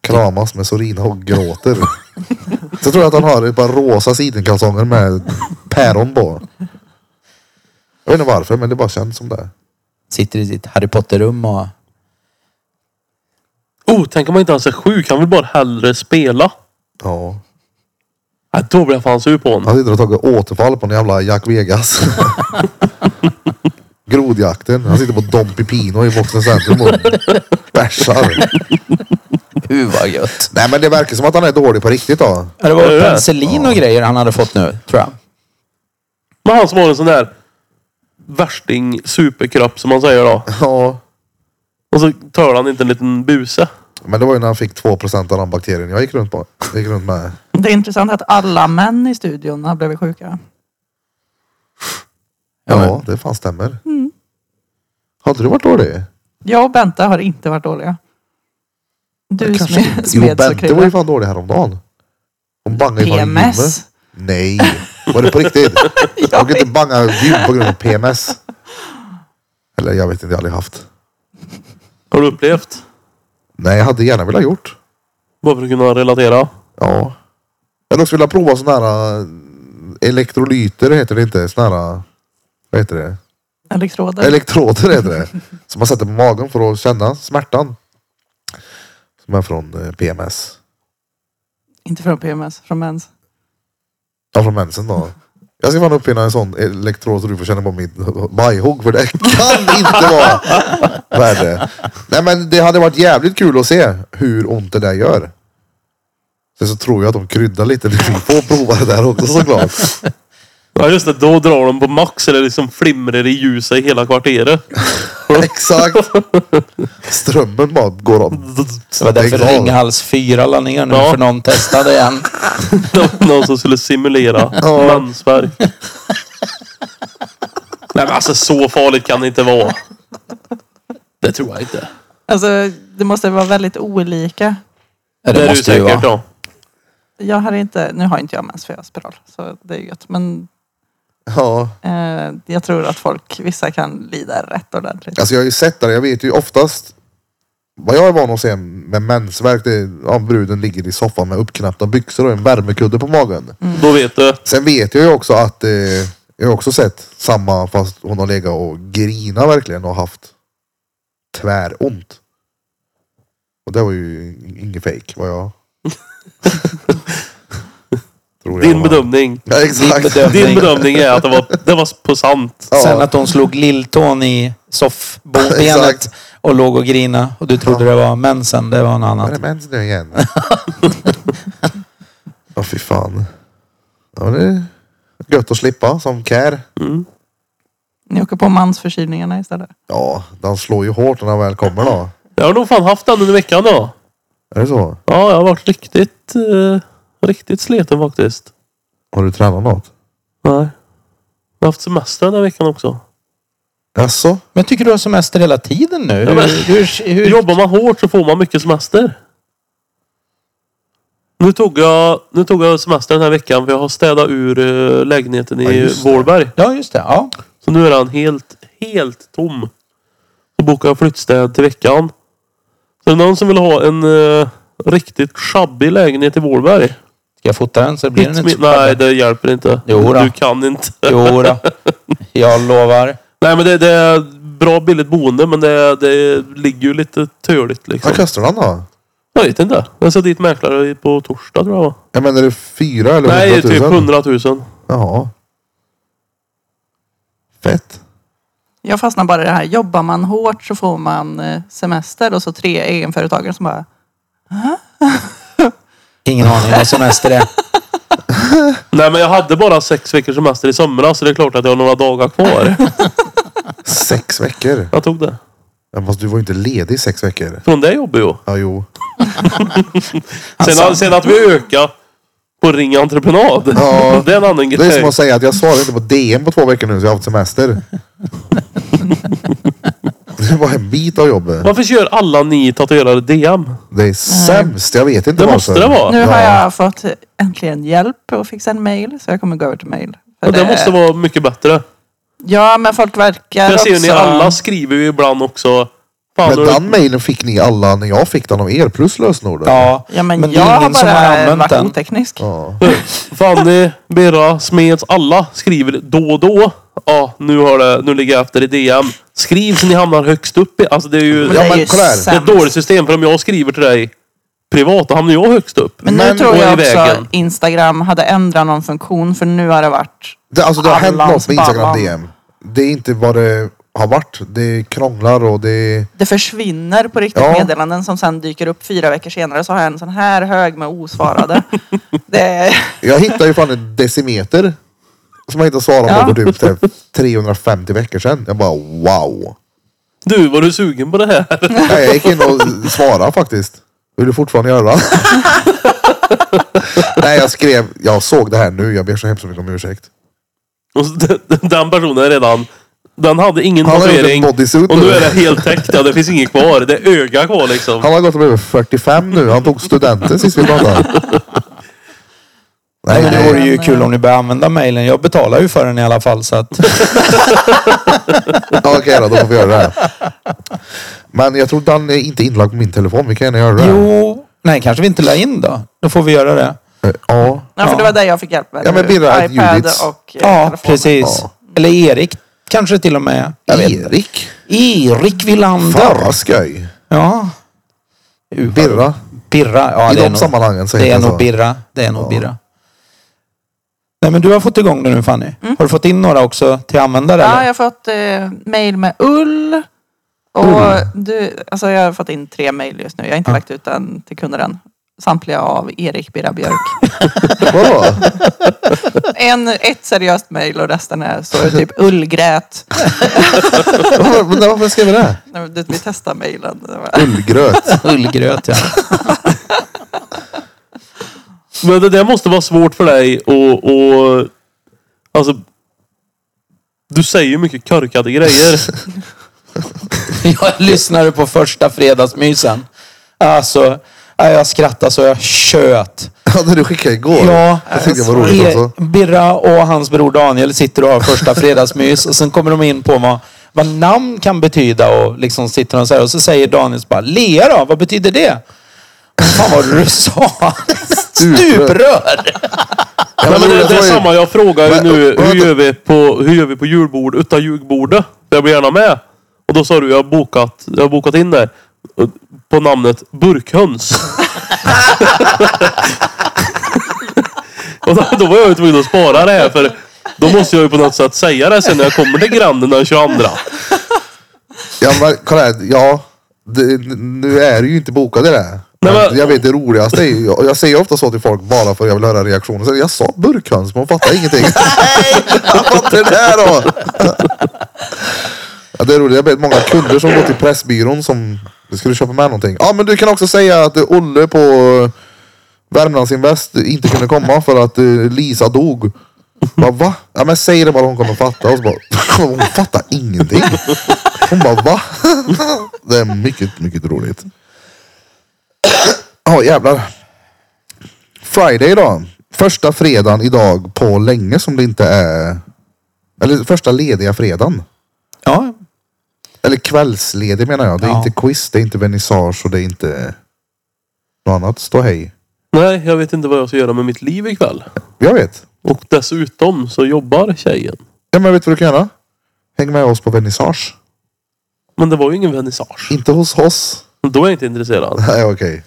[SPEAKER 1] kramas med Sorina och gråter. Så tror jag att han har ett par rosa sidenkalsonger med päron på. Jag vet inte varför men det bara känns som det.
[SPEAKER 2] sitter i sitt Harry Potter-rum och...
[SPEAKER 3] Oh, tänk om han inte ens är sjuk. Han vill bara hellre spela.
[SPEAKER 1] Ja.
[SPEAKER 3] Nej, då blir jag fan sur på honom.
[SPEAKER 1] Han sitter och tagit återfall på en jävla Jack Vegas. Grodjakten. Han sitter på Dom Pepino i Boxen Centrum och bärsar.
[SPEAKER 2] Hur vad gött.
[SPEAKER 1] Nej men det verkar som att han är dålig på riktigt då.
[SPEAKER 2] Ja, Det
[SPEAKER 3] Är
[SPEAKER 2] var
[SPEAKER 3] det?
[SPEAKER 2] penicillin och grejer han hade fått nu, tror jag.
[SPEAKER 3] Men han som har en sån där värsting superkropp som man säger då.
[SPEAKER 1] Ja.
[SPEAKER 3] Och så tar han inte en liten buse.
[SPEAKER 1] Men det var ju när han fick 2% av den bakterien jag gick runt, på. gick runt med.
[SPEAKER 4] Det är intressant att alla män i studion har blivit sjuka.
[SPEAKER 1] Ja det fan stämmer. Hade du varit dålig?
[SPEAKER 4] Jag och Bente har inte varit dåliga. Du smed,
[SPEAKER 1] Jo
[SPEAKER 4] smed så
[SPEAKER 1] Bente var ju
[SPEAKER 4] krille.
[SPEAKER 1] fan dålig häromdagen. Hon bangade ju fan i gymmet.
[SPEAKER 4] PMS.
[SPEAKER 1] Nej. Var det på riktigt? Jag kan inte banga gym på grund av PMS. Eller jag vet inte, jag har aldrig haft.
[SPEAKER 3] Har du upplevt?
[SPEAKER 1] Nej, jag hade gärna velat gjort.
[SPEAKER 3] Bara för att kunna relatera.
[SPEAKER 1] Ja. Jag hade också velat prova sådana här eh, elektrolyter heter det inte. Sådana här, eh, vad heter det?
[SPEAKER 4] Elektroder.
[SPEAKER 1] Elektroder heter det. Som man sätter på magen för att känna smärtan. Som är från eh, PMS.
[SPEAKER 4] Inte från PMS, från mens.
[SPEAKER 1] Ja, från mensen då. Jag ska fan uppfinna en sån elektrod så du får känna på mitt bajhugg för det kan inte vara värre. Nej men det hade varit jävligt kul att se hur ont det där gör. Sen så tror jag att de kryddar lite. Du får prova det där också såklart.
[SPEAKER 3] Ja just det, då drar de på max eller liksom flimrar i ljuset i hela kvarteret.
[SPEAKER 1] Exakt. Strömmen bara går av.
[SPEAKER 2] Det var därför
[SPEAKER 1] Lägg av.
[SPEAKER 2] Ringhals 4 la ner nu
[SPEAKER 3] Ja.
[SPEAKER 2] för någon testade igen.
[SPEAKER 3] Nå- Någon som skulle simulera
[SPEAKER 1] Ja.
[SPEAKER 3] mensvärk. Nej men alltså så farligt kan det inte vara. Det tror jag inte.
[SPEAKER 4] Alltså, det måste vara väldigt olika.
[SPEAKER 2] Ja,
[SPEAKER 3] är
[SPEAKER 2] Det
[SPEAKER 3] du
[SPEAKER 2] måste ju
[SPEAKER 3] säkert
[SPEAKER 2] vara.
[SPEAKER 3] ja.
[SPEAKER 4] Jag har inte, nu har inte jag mens för jag har spiral, så det är ju gött. Men
[SPEAKER 1] Ja.
[SPEAKER 4] eh, jag tror att folk, vissa kan lida rätt ordentligt.
[SPEAKER 1] Alltså jag har ju sett det. Jag vet ju oftast. Vad jag är van att se med mensvärk. Det är ja, bruden ligger i soffan med uppknäppta byxor och en värmekudde på magen.
[SPEAKER 2] Mm.
[SPEAKER 3] Då vet du.
[SPEAKER 1] Sen vet jag ju också att eh, jag har också sett samma fast hon har legat och grina verkligen och haft tväront. Och det var ju inget fejk vad jag... Tror jag
[SPEAKER 3] Din
[SPEAKER 1] var.
[SPEAKER 3] bedömning.
[SPEAKER 1] Ja,
[SPEAKER 2] Din
[SPEAKER 1] exakt.
[SPEAKER 2] bedömning.
[SPEAKER 3] Din bedömning är att det var, det var på sant.
[SPEAKER 1] Ja.
[SPEAKER 2] Sen att de slog lilltån i soffbenet
[SPEAKER 1] Exakt.
[SPEAKER 2] och låg och grina och du trodde det var mensen. Det var något
[SPEAKER 1] Är
[SPEAKER 2] annat.
[SPEAKER 1] det mens nu igen? Ja fy fan. Ja, det är gött att slippa som kär.
[SPEAKER 3] Mm.
[SPEAKER 4] Ni åker på mansförkylningarna istället.
[SPEAKER 1] Ja, den slår ju hårt när den väl kommer då.
[SPEAKER 3] Jag har nog fan haft den under veckan då.
[SPEAKER 1] Är det så?
[SPEAKER 3] Ja, jag har varit riktigt, eh, riktigt sliten faktiskt.
[SPEAKER 1] Har du tränat något?
[SPEAKER 3] Nej. Jag har haft semester den här veckan också.
[SPEAKER 1] Jaså?
[SPEAKER 2] Men jag tycker du har semester hela tiden nu.
[SPEAKER 3] Ja, men-
[SPEAKER 2] Hur, hur, hur,
[SPEAKER 3] Jobbar man hårt så får man mycket semester. Nu tog jag, nu tog jag semester den här veckan för jag har städat ur eh, lägenheten
[SPEAKER 1] Ja,
[SPEAKER 3] i
[SPEAKER 1] just det.
[SPEAKER 3] Vålberg.
[SPEAKER 2] ja, just det. Ja.
[SPEAKER 3] Så nu är den helt, helt tom. Så bokar jag flyttstäd till veckan. Så är det någon som vill ha en eh, riktigt sjabbig lägenhet i Vålberg?
[SPEAKER 2] Ska jag fota den så blir den inte så
[SPEAKER 3] Nej,
[SPEAKER 2] spännande?
[SPEAKER 3] det hjälper inte.
[SPEAKER 2] Jo då.
[SPEAKER 3] du kan inte.
[SPEAKER 2] Jo då. Jag lovar.
[SPEAKER 3] Nej, men det, det är bra billigt boende men det, det ligger ju lite töligt liksom.
[SPEAKER 1] Vad kostar den då?
[SPEAKER 3] Jag vet inte. Jag ska dit mäklare på torsdag tror jag. va?
[SPEAKER 1] Jag menar är det fyra eller
[SPEAKER 3] Nej, typ
[SPEAKER 1] 100 000?
[SPEAKER 3] 100 000.
[SPEAKER 1] Jaha. Fett.
[SPEAKER 4] Jag fastnar bara i det här, jobbar man hårt så får man eh, semester och så tre egenföretagare som bara,
[SPEAKER 2] Ingen aning vad semester är.
[SPEAKER 3] Nej, men jag hade bara sex veckors semester i somras så det är klart att jag har några dagar kvar.
[SPEAKER 1] Sex veckor.
[SPEAKER 3] Jag tog det.
[SPEAKER 1] Ja, fast du var ju inte ledig i sex veckor.
[SPEAKER 3] Från det jobbet ju.
[SPEAKER 1] Ja, jo. Alltså.
[SPEAKER 3] Sen, sen att vi ökar på Ring Entreprenad.
[SPEAKER 1] Ja.
[SPEAKER 3] det är en annan
[SPEAKER 1] Det är som
[SPEAKER 3] grej.
[SPEAKER 1] att säga att jag svarar inte på DM på två veckor nu så jag har haft semester. Det var en bit av jobbet.
[SPEAKER 3] Varför kör alla ni tatuerare DM?
[SPEAKER 1] Det är sämst. Jag vet inte
[SPEAKER 3] Det måste det vara.
[SPEAKER 4] nu
[SPEAKER 1] Ja.
[SPEAKER 4] har jag fått äntligen hjälp att fixa en mail så jag kommer gå över till mail.
[SPEAKER 3] Men
[SPEAKER 4] För
[SPEAKER 3] det måste vara mycket bättre.
[SPEAKER 4] Ja, men folk verkar
[SPEAKER 3] Jag ser ju
[SPEAKER 4] också...
[SPEAKER 3] ni alla skriver ju ibland också. Fan,
[SPEAKER 1] Men
[SPEAKER 3] har du-
[SPEAKER 1] den mailen fick ni alla när jag fick den av er plus lösenorden.
[SPEAKER 2] Ja,
[SPEAKER 4] Ja, men,
[SPEAKER 2] men det
[SPEAKER 4] jag
[SPEAKER 2] är
[SPEAKER 4] har
[SPEAKER 2] ingen som
[SPEAKER 4] bara
[SPEAKER 2] har använt
[SPEAKER 4] varit
[SPEAKER 2] den.
[SPEAKER 4] oteknisk.
[SPEAKER 1] Ja.
[SPEAKER 3] Fanny, Birra, Smeds, alla skriver då och då. Ja, nu, har det, nu ligger jag efter i DM. Skriv så ni hamnar högst upp. I, alltså det är ju
[SPEAKER 4] Men
[SPEAKER 1] Ja,
[SPEAKER 4] det är
[SPEAKER 1] men
[SPEAKER 4] ju
[SPEAKER 1] kolla här.
[SPEAKER 3] det är ett
[SPEAKER 4] sämst.
[SPEAKER 3] dåligt system. För om jag skriver till dig privat, då hamnar jag högst upp.
[SPEAKER 4] Men nu
[SPEAKER 1] Men
[SPEAKER 4] tror
[SPEAKER 3] går i
[SPEAKER 4] jag också
[SPEAKER 3] vägen.
[SPEAKER 4] Instagram hade ändrat någon funktion för nu har det varit...
[SPEAKER 1] Det, alltså det har hänt något
[SPEAKER 4] Allans
[SPEAKER 1] med Instagram
[SPEAKER 4] ballan.
[SPEAKER 1] DM. Det är inte vad det har varit. Det krånglar och det...
[SPEAKER 4] Det försvinner på riktigt
[SPEAKER 1] Ja.
[SPEAKER 4] meddelanden som sen dyker upp fyra veckor senare så har jag en sån här hög med osvarade. det är...
[SPEAKER 1] Jag hittade ju fan en decimeter. Som jag inte svarade på för
[SPEAKER 4] Ja.
[SPEAKER 1] typ så här 350 veckor sedan. Jag bara wow.
[SPEAKER 3] Du, var du sugen på det här?
[SPEAKER 1] Nej, jag gick in och svarade faktiskt. Vill du fortfarande göra? Nej, jag skrev. Jag såg det här nu. Jag ber så hemskt mycket om ursäkt.
[SPEAKER 3] Och så den- Den personen är redan... Den hade ingen
[SPEAKER 1] Han har gjort en
[SPEAKER 3] tatuering.
[SPEAKER 1] bodysuit
[SPEAKER 3] Och nu
[SPEAKER 1] nu.
[SPEAKER 3] är det helt täckt. Ja, det finns inget kvar. Det är öga kvar liksom.
[SPEAKER 1] Han har gått och blivit 45 nu. Han tog studenten sist vi pratade. Nej,
[SPEAKER 2] Men det vore
[SPEAKER 1] det,
[SPEAKER 2] ju
[SPEAKER 4] Men,
[SPEAKER 2] kul
[SPEAKER 4] eh,
[SPEAKER 2] om ni börjar använda mailen. Jag betalar ju för den i alla fall så att...
[SPEAKER 1] ja, okej då, då får vi göra det här. Men jag tror Dan är inte inlagd på min telefon. Vi kan gärna göra det. här.
[SPEAKER 2] Jo, nej kanske vi inte la in då. Då får vi göra det.
[SPEAKER 1] Eh, Ja.
[SPEAKER 4] Ja, för det var det jag fick hjälp med.
[SPEAKER 1] Ja, men
[SPEAKER 4] nu.
[SPEAKER 1] Birra, ett
[SPEAKER 4] iPad
[SPEAKER 1] Judiths.
[SPEAKER 4] och eh,
[SPEAKER 2] Ja,
[SPEAKER 4] telefon.
[SPEAKER 2] precis.
[SPEAKER 1] Ja.
[SPEAKER 2] Eller Erik kanske till och med. Jag vet inte.
[SPEAKER 1] Erik.
[SPEAKER 2] Erik Wilander.
[SPEAKER 1] Fan vad skoj.
[SPEAKER 2] Ja.
[SPEAKER 1] Birra.
[SPEAKER 2] Pirra, ja
[SPEAKER 1] I
[SPEAKER 2] det
[SPEAKER 1] de
[SPEAKER 2] är, nog,
[SPEAKER 1] sammanhangen så
[SPEAKER 2] det
[SPEAKER 1] heter
[SPEAKER 2] är
[SPEAKER 1] det
[SPEAKER 2] nog
[SPEAKER 1] så.
[SPEAKER 2] birra. Det är nog
[SPEAKER 1] Ja.
[SPEAKER 2] birra. Nej men du har fått igång det nu Fanny. Har du fått in några också till användare?
[SPEAKER 4] Ja,
[SPEAKER 2] eller?
[SPEAKER 4] jag har fått eh, mejl med ull. Och du, alltså jag har fått in tre mejl just nu. Jag har inte lagt ut den till kunder än. Samtliga av Erik Birra Björk.
[SPEAKER 1] Vadå?
[SPEAKER 4] en, ett seriöst mejl och resten är, står det typ ullgrät.
[SPEAKER 1] Varför, men varför skrev vi det?
[SPEAKER 4] Nej, men du, Vi testar mejlen.
[SPEAKER 1] Ullgröt.
[SPEAKER 2] Ullgröt ja.
[SPEAKER 3] Men det där måste vara svårt för dig och, och Alltså... Du säger ju mycket korkade grejer.
[SPEAKER 2] Jag lyssnade på första fredagsmysen. Alltså, ja, jag skrattade så jag tjöt.
[SPEAKER 1] Ja, när du skickade igår.
[SPEAKER 2] Ja,
[SPEAKER 1] Jag tyckte det var roligt
[SPEAKER 2] E-
[SPEAKER 1] också.
[SPEAKER 2] Birra och hans bror Daniel sitter och har första fredagsmys och sen kommer de in på vad, vad namn kan betyda och liksom sitter de så här och så säger Daniel så bara Lea då, vad betyder det? Fan vad du sa! Stuprör!
[SPEAKER 1] Ja,
[SPEAKER 3] Nej, men det, det är
[SPEAKER 1] var ju-
[SPEAKER 3] samma jag frågar ju
[SPEAKER 1] Men-
[SPEAKER 3] nu.
[SPEAKER 1] men-
[SPEAKER 3] Hur gör vi på, hur gör vi på julbord utan julbordet? Jag blir gärna med. Och då sa du, jag har bokat, jag har bokat in det. På namnet burkhöns. och då, då var jag ju tvungen att spara det här för då måste jag ju på något sätt säga det sen när jag kommer till grannen den 22.
[SPEAKER 1] Ja, men kolla här. Ja, det, nu är det ju inte bokat det där.
[SPEAKER 3] Nej, men-
[SPEAKER 1] Men jag vet det roligaste är ju, jag, jag säger ofta så till folk bara för att jag vill höra reaktionen. Så jag sa burkhöns, men hon fattar ingenting. Nej, jag fattar det här då. ja, det är roligt. Jag vet många kunder som går till Pressbyrån som skulle köpa med någonting. Ja, men du kan också säga att eh, Olle på eh, Värmlandsinvest inte kunde komma för att eh, Lisa dog. Bara, va? Ja men säg det bara hon kommer fatta. Och så bara, hon fattar ingenting. Hon bara va? Det är mycket, mycket roligt. Ja jävlar. Friday då. Första fredagen idag på länge som det inte är. Eller första lediga fredagen.
[SPEAKER 2] Ja,
[SPEAKER 1] Eller kvällsledig menar jag. Det är
[SPEAKER 2] Ja.
[SPEAKER 1] inte quiz, det är inte vernissage och det är inte något annat ståhej.
[SPEAKER 3] Nej, jag vet inte vad jag ska göra med mitt liv ikväll.
[SPEAKER 1] Jag vet.
[SPEAKER 3] Och dessutom så jobbar tjejen.
[SPEAKER 1] Ja men vet du vad du kan göra? Häng med oss på vernissage.
[SPEAKER 3] Men det var ju ingen vernissage.
[SPEAKER 1] Inte hos oss.
[SPEAKER 3] Då är jag inte intresserad.
[SPEAKER 1] Nej okej.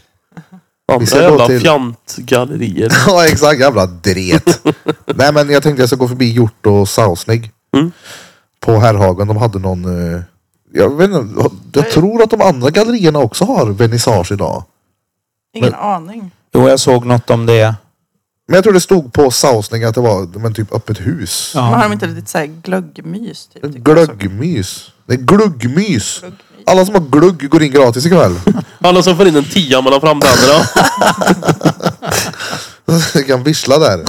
[SPEAKER 1] Vi ska
[SPEAKER 3] Andra
[SPEAKER 1] gå
[SPEAKER 3] jävla
[SPEAKER 1] till-
[SPEAKER 3] fjantgallerier.
[SPEAKER 1] Ja exakt, jävla dret. Nej men jag tänkte jag ska gå förbi Hjort och Sausnig.
[SPEAKER 3] Mm.
[SPEAKER 1] På Herrhagen, de hade någon... eh, Jag, vet inte, jag tror att de andra gallerierna också har vernissage idag.
[SPEAKER 4] Ingen aning.
[SPEAKER 2] jo jag såg något om det.
[SPEAKER 1] Men jag tror det stod på Sausnig att det var men typ öppet hus.
[SPEAKER 2] Ja.
[SPEAKER 4] Men har de inte lite så här glöggmys? Typ,
[SPEAKER 1] Mm.
[SPEAKER 4] tycker jag så?
[SPEAKER 1] Glöggmys. Det är gluggmys. Alla som har glugg går in gratis ikväll.
[SPEAKER 3] Alla som får in en tia mellan framtänderna.
[SPEAKER 1] Jag kan vissla där.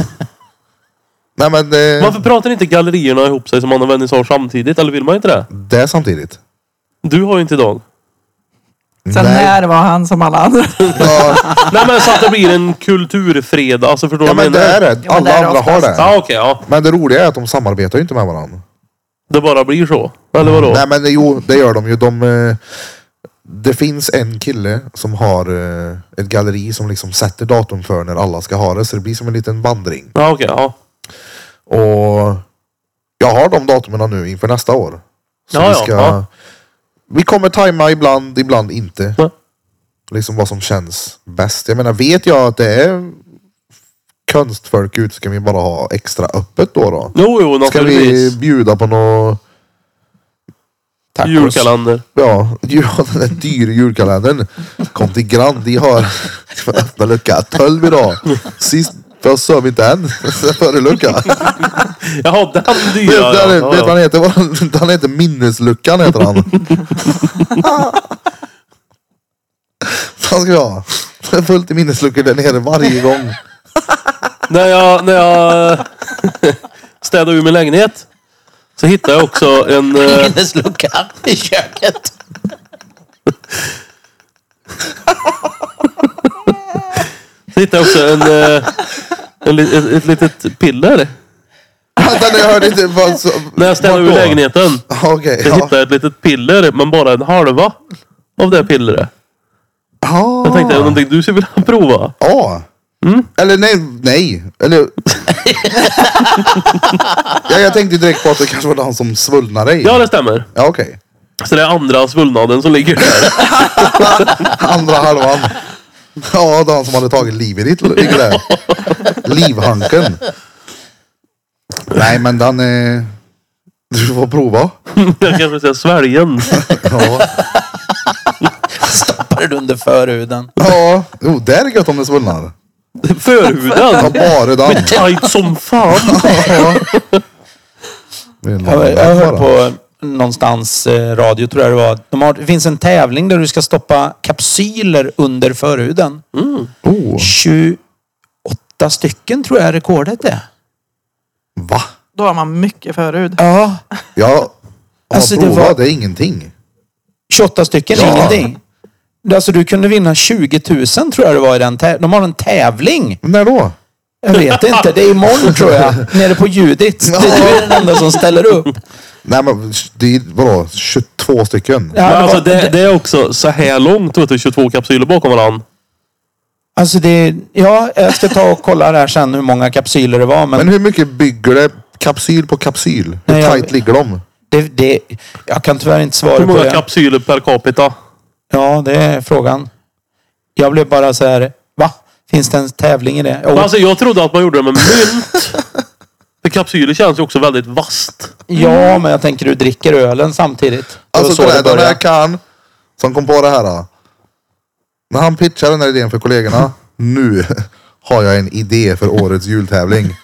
[SPEAKER 1] Nej men eh,
[SPEAKER 3] Varför pratar inte gallerierna ihop sig som man har vernissage samtidigt? Eller vill man inte det?
[SPEAKER 1] det är samtidigt.
[SPEAKER 3] Du har ju inte idag.
[SPEAKER 4] Sen
[SPEAKER 1] Nej.
[SPEAKER 4] när var han som alla andra?
[SPEAKER 1] Ja,
[SPEAKER 3] Nej men så att det blir en kulturfredag. Alltså förstår du
[SPEAKER 1] ja men
[SPEAKER 3] vad jag
[SPEAKER 1] det
[SPEAKER 3] menar?
[SPEAKER 1] är det.
[SPEAKER 4] Ja, men det är
[SPEAKER 1] Alla
[SPEAKER 4] det
[SPEAKER 1] andra har
[SPEAKER 4] oftast.
[SPEAKER 1] det.
[SPEAKER 3] Ja okej ja.
[SPEAKER 1] Men det roliga är att de samarbetar ju inte med varandra.
[SPEAKER 3] Det bara blir så. Eller vadå?
[SPEAKER 1] Nej men jo, det gör de ju. De, eh, det finns en kille som har eh, ett galleri som liksom sätter datum för när alla ska ha det. Så det blir som en liten vandring.
[SPEAKER 3] Ja okej ja.
[SPEAKER 1] Och jag har de datumen nu inför nästa år. Så
[SPEAKER 3] Ja,
[SPEAKER 1] vi
[SPEAKER 3] ja,
[SPEAKER 1] ska...
[SPEAKER 3] ja.
[SPEAKER 1] Vi kommer tajma ibland, ibland inte.
[SPEAKER 3] Ja.
[SPEAKER 1] Liksom vad som känns bäst. Jag menar, vet jag att det är konstfolk ut så kan vi bara ha extra öppet då. då.
[SPEAKER 3] Jo jo
[SPEAKER 1] Ska vi
[SPEAKER 3] naturligtvis.
[SPEAKER 1] bjuda på något
[SPEAKER 2] Tacos.
[SPEAKER 3] Julkalender.
[SPEAKER 1] Ja, ja, den där dyra julkalendern. Kom till Grand, de har för öppna lucka 12 idag. Sist, för jag sov inte än. Före lucka.
[SPEAKER 3] Jaha den dyra.
[SPEAKER 1] Vet-
[SPEAKER 3] Ja,
[SPEAKER 1] där-
[SPEAKER 3] ja,
[SPEAKER 1] Vet vad
[SPEAKER 3] ja.
[SPEAKER 1] han heter? Vad- Han heter Minnesluckan heter han. Han ska vi ha. Det är fullt i minnesluckor där nere varje gång.
[SPEAKER 3] När jag, när jag städade ur min lägenhet. Så hittade jag också en... eh,
[SPEAKER 2] Minnesluckan i köket.
[SPEAKER 3] Så hittade jag också en... eh, en li- ett, ett litet piller.
[SPEAKER 1] Vänta nu, jag hörde inte. Vad, så,
[SPEAKER 3] När jag städade
[SPEAKER 1] vart
[SPEAKER 3] ur
[SPEAKER 1] då?
[SPEAKER 3] lägenheten.
[SPEAKER 1] Ja, Okej.
[SPEAKER 3] Jag
[SPEAKER 1] ja.
[SPEAKER 3] hittade ett litet piller men bara en halva av det pillret.
[SPEAKER 1] Ja.
[SPEAKER 3] Jag
[SPEAKER 2] Ah.
[SPEAKER 3] tänkte, är det någonting du skulle vilja prova?
[SPEAKER 1] Ja.
[SPEAKER 2] Mm.
[SPEAKER 1] Eller nej, nej. Eller... ja, jag tänkte direkt på att det kanske var han som svullnade dig.
[SPEAKER 3] Ja, det stämmer.
[SPEAKER 1] Ja, okej.
[SPEAKER 3] Så det är andra svullnaden som ligger där.
[SPEAKER 1] Andra halvan. Ja, den som hade tagit livet i ditt ligger där. Livhanken. Nej, men den är... Du får prova.
[SPEAKER 3] Jag kanske säger sväljen.
[SPEAKER 1] Ja,
[SPEAKER 2] Stoppar det under förhuden.
[SPEAKER 1] ja. jo det är gött om det svullnar. Ta
[SPEAKER 3] Förhuden.
[SPEAKER 1] bara den.
[SPEAKER 3] Tajt som fan.
[SPEAKER 1] Ja. Det är en lång
[SPEAKER 2] Jag,
[SPEAKER 1] väg
[SPEAKER 2] jag hörde
[SPEAKER 1] bara.
[SPEAKER 2] på någonstans eh, radio tror jag det var. De har, det finns en tävling där du ska stoppa kapsyler under förhuden.
[SPEAKER 1] Oh,
[SPEAKER 2] 28 stycken tror jag rekordet är.
[SPEAKER 1] va?
[SPEAKER 4] Då har man mycket förhud.
[SPEAKER 2] Ja.
[SPEAKER 1] Ja, ja
[SPEAKER 2] Alltså, det
[SPEAKER 1] prova. Det,
[SPEAKER 2] var-
[SPEAKER 1] är ingenting.
[SPEAKER 2] 28 stycken är
[SPEAKER 1] Ja.
[SPEAKER 2] ingenting. Alltså du kunde vinna 20 000 tror jag det var i den tävlingen. De har en tävling.
[SPEAKER 1] Men när då?
[SPEAKER 2] Jag vet inte. Det är imorgon tror jag. Nere på Judits. Det är du är den enda som ställer upp.
[SPEAKER 1] Nej men det är vadå, 22 stycken?
[SPEAKER 2] Ja,
[SPEAKER 3] Men
[SPEAKER 2] det
[SPEAKER 3] alltså
[SPEAKER 2] var-
[SPEAKER 3] det, det är också så här långt vet du, 22 kapsyler bakom varandra.
[SPEAKER 2] Alltså det, ja, jag ska ta och kolla där sen hur många kapsyler det var. Men,
[SPEAKER 1] Men hur mycket bygger det kapsyl på kapsyl? Hur
[SPEAKER 2] Nej, jag-
[SPEAKER 1] tajt ligger de?
[SPEAKER 2] det, det, jag kan tyvärr inte svara
[SPEAKER 3] Hur
[SPEAKER 2] på
[SPEAKER 3] många
[SPEAKER 2] det.
[SPEAKER 3] kapsyler per capita?
[SPEAKER 2] ja, det är frågan. Jag blev bara så här, va? Finns det en tävling i det? Jo,
[SPEAKER 3] Men Alltså jag trodde att man gjorde det med mynt. För kapsyler känns ju också väldigt vasst.
[SPEAKER 2] ja, men jag tänker du dricker ölen samtidigt. Det var
[SPEAKER 1] Mm. Alltså
[SPEAKER 2] så
[SPEAKER 1] kolla,
[SPEAKER 2] det
[SPEAKER 1] den
[SPEAKER 2] började.
[SPEAKER 1] här kan som kom på det här. då. När han pitchade den här idén för kollegorna. nu har jag en idé för årets jultävling.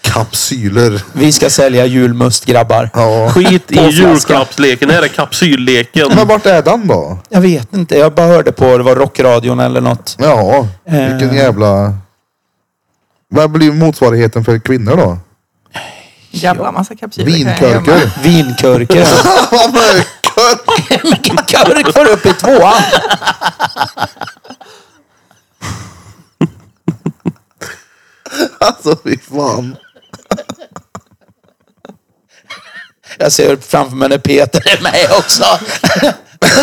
[SPEAKER 1] Kapsyler.
[SPEAKER 2] Vi ska sälja julmust grabbar.
[SPEAKER 1] Ja.
[SPEAKER 3] Skit
[SPEAKER 2] På
[SPEAKER 3] i
[SPEAKER 2] flaska.
[SPEAKER 3] julklappsleken. Det här är kapsylleken.
[SPEAKER 1] Men vart är den då?
[SPEAKER 2] Jag vet inte, jag bara hörde på det var rockradion eller något.
[SPEAKER 1] Ja, vilken
[SPEAKER 2] Eh.
[SPEAKER 1] jävla... Vad blir motsvarigheten för kvinnor då?
[SPEAKER 4] Jävla massa kapsyler. kan jag gömma.
[SPEAKER 1] Vinkurkor?
[SPEAKER 2] Vinkurken.
[SPEAKER 1] Vad mörkt!
[SPEAKER 2] Vilken kurk var uppe i tvåan?
[SPEAKER 1] Alltså fy fan.
[SPEAKER 2] Jag ser framför mig när Peter är med också.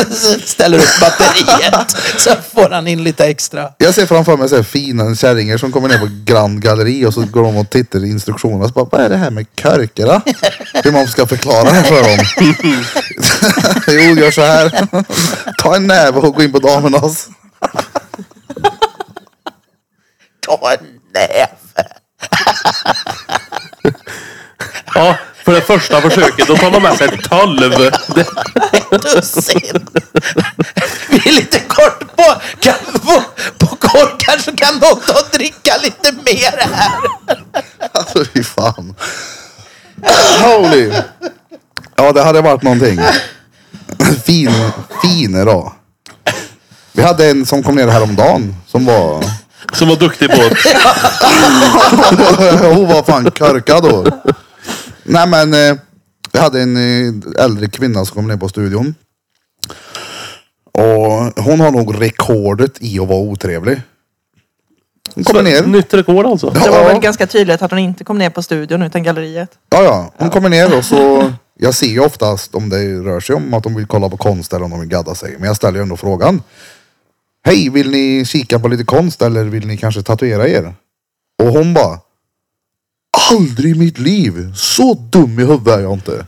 [SPEAKER 2] Så Ställer upp batteriet. Så får han in lite extra.
[SPEAKER 1] Jag ser framför mig så här fina kärringar som kommer ner på Grand Galleri och så går de och tittar i instruktionerna. Så bara, vad är det här med körker då? Hur man ska förklara det här för dem. jo, gör så här. Ta en näve och gå in på damernas.
[SPEAKER 2] Ta en näve.
[SPEAKER 3] Ja, för det första försöket då tar man med sig ett tolv. Det,
[SPEAKER 2] Dussin. Vi är lite kort på, kan, på, på korkar så kan de ta och dricka lite mer här.
[SPEAKER 1] Alltså fy fan. Holy. Ja, det hade varit någonting. Fin, fin då. Vi hade en som kom ner häromdagen som var...
[SPEAKER 3] som var duktig på det.
[SPEAKER 1] Hon var fan körkad då. Nej men, eh, jag hade en eh, äldre kvinna som kom ner på studion. Och hon har nog rekordet i att vara otrevlig. Hon kommer ner.
[SPEAKER 3] Nytt rekord alltså.
[SPEAKER 4] Det var
[SPEAKER 1] Ja.
[SPEAKER 4] väl ganska tydligt att hon inte kom ner på studion utan galleriet.
[SPEAKER 1] Ja, ja. Hon kommer ner och så. Jag ser ju oftast om det rör sig om att de vill kolla på konst eller om de vill gadda sig. Men jag ställer ju ändå frågan. Hej, vill ni kika på lite konst eller vill ni kanske tatuera er? Och hon bara. Aldrig i mitt liv. Så dum i huvudet är jag inte.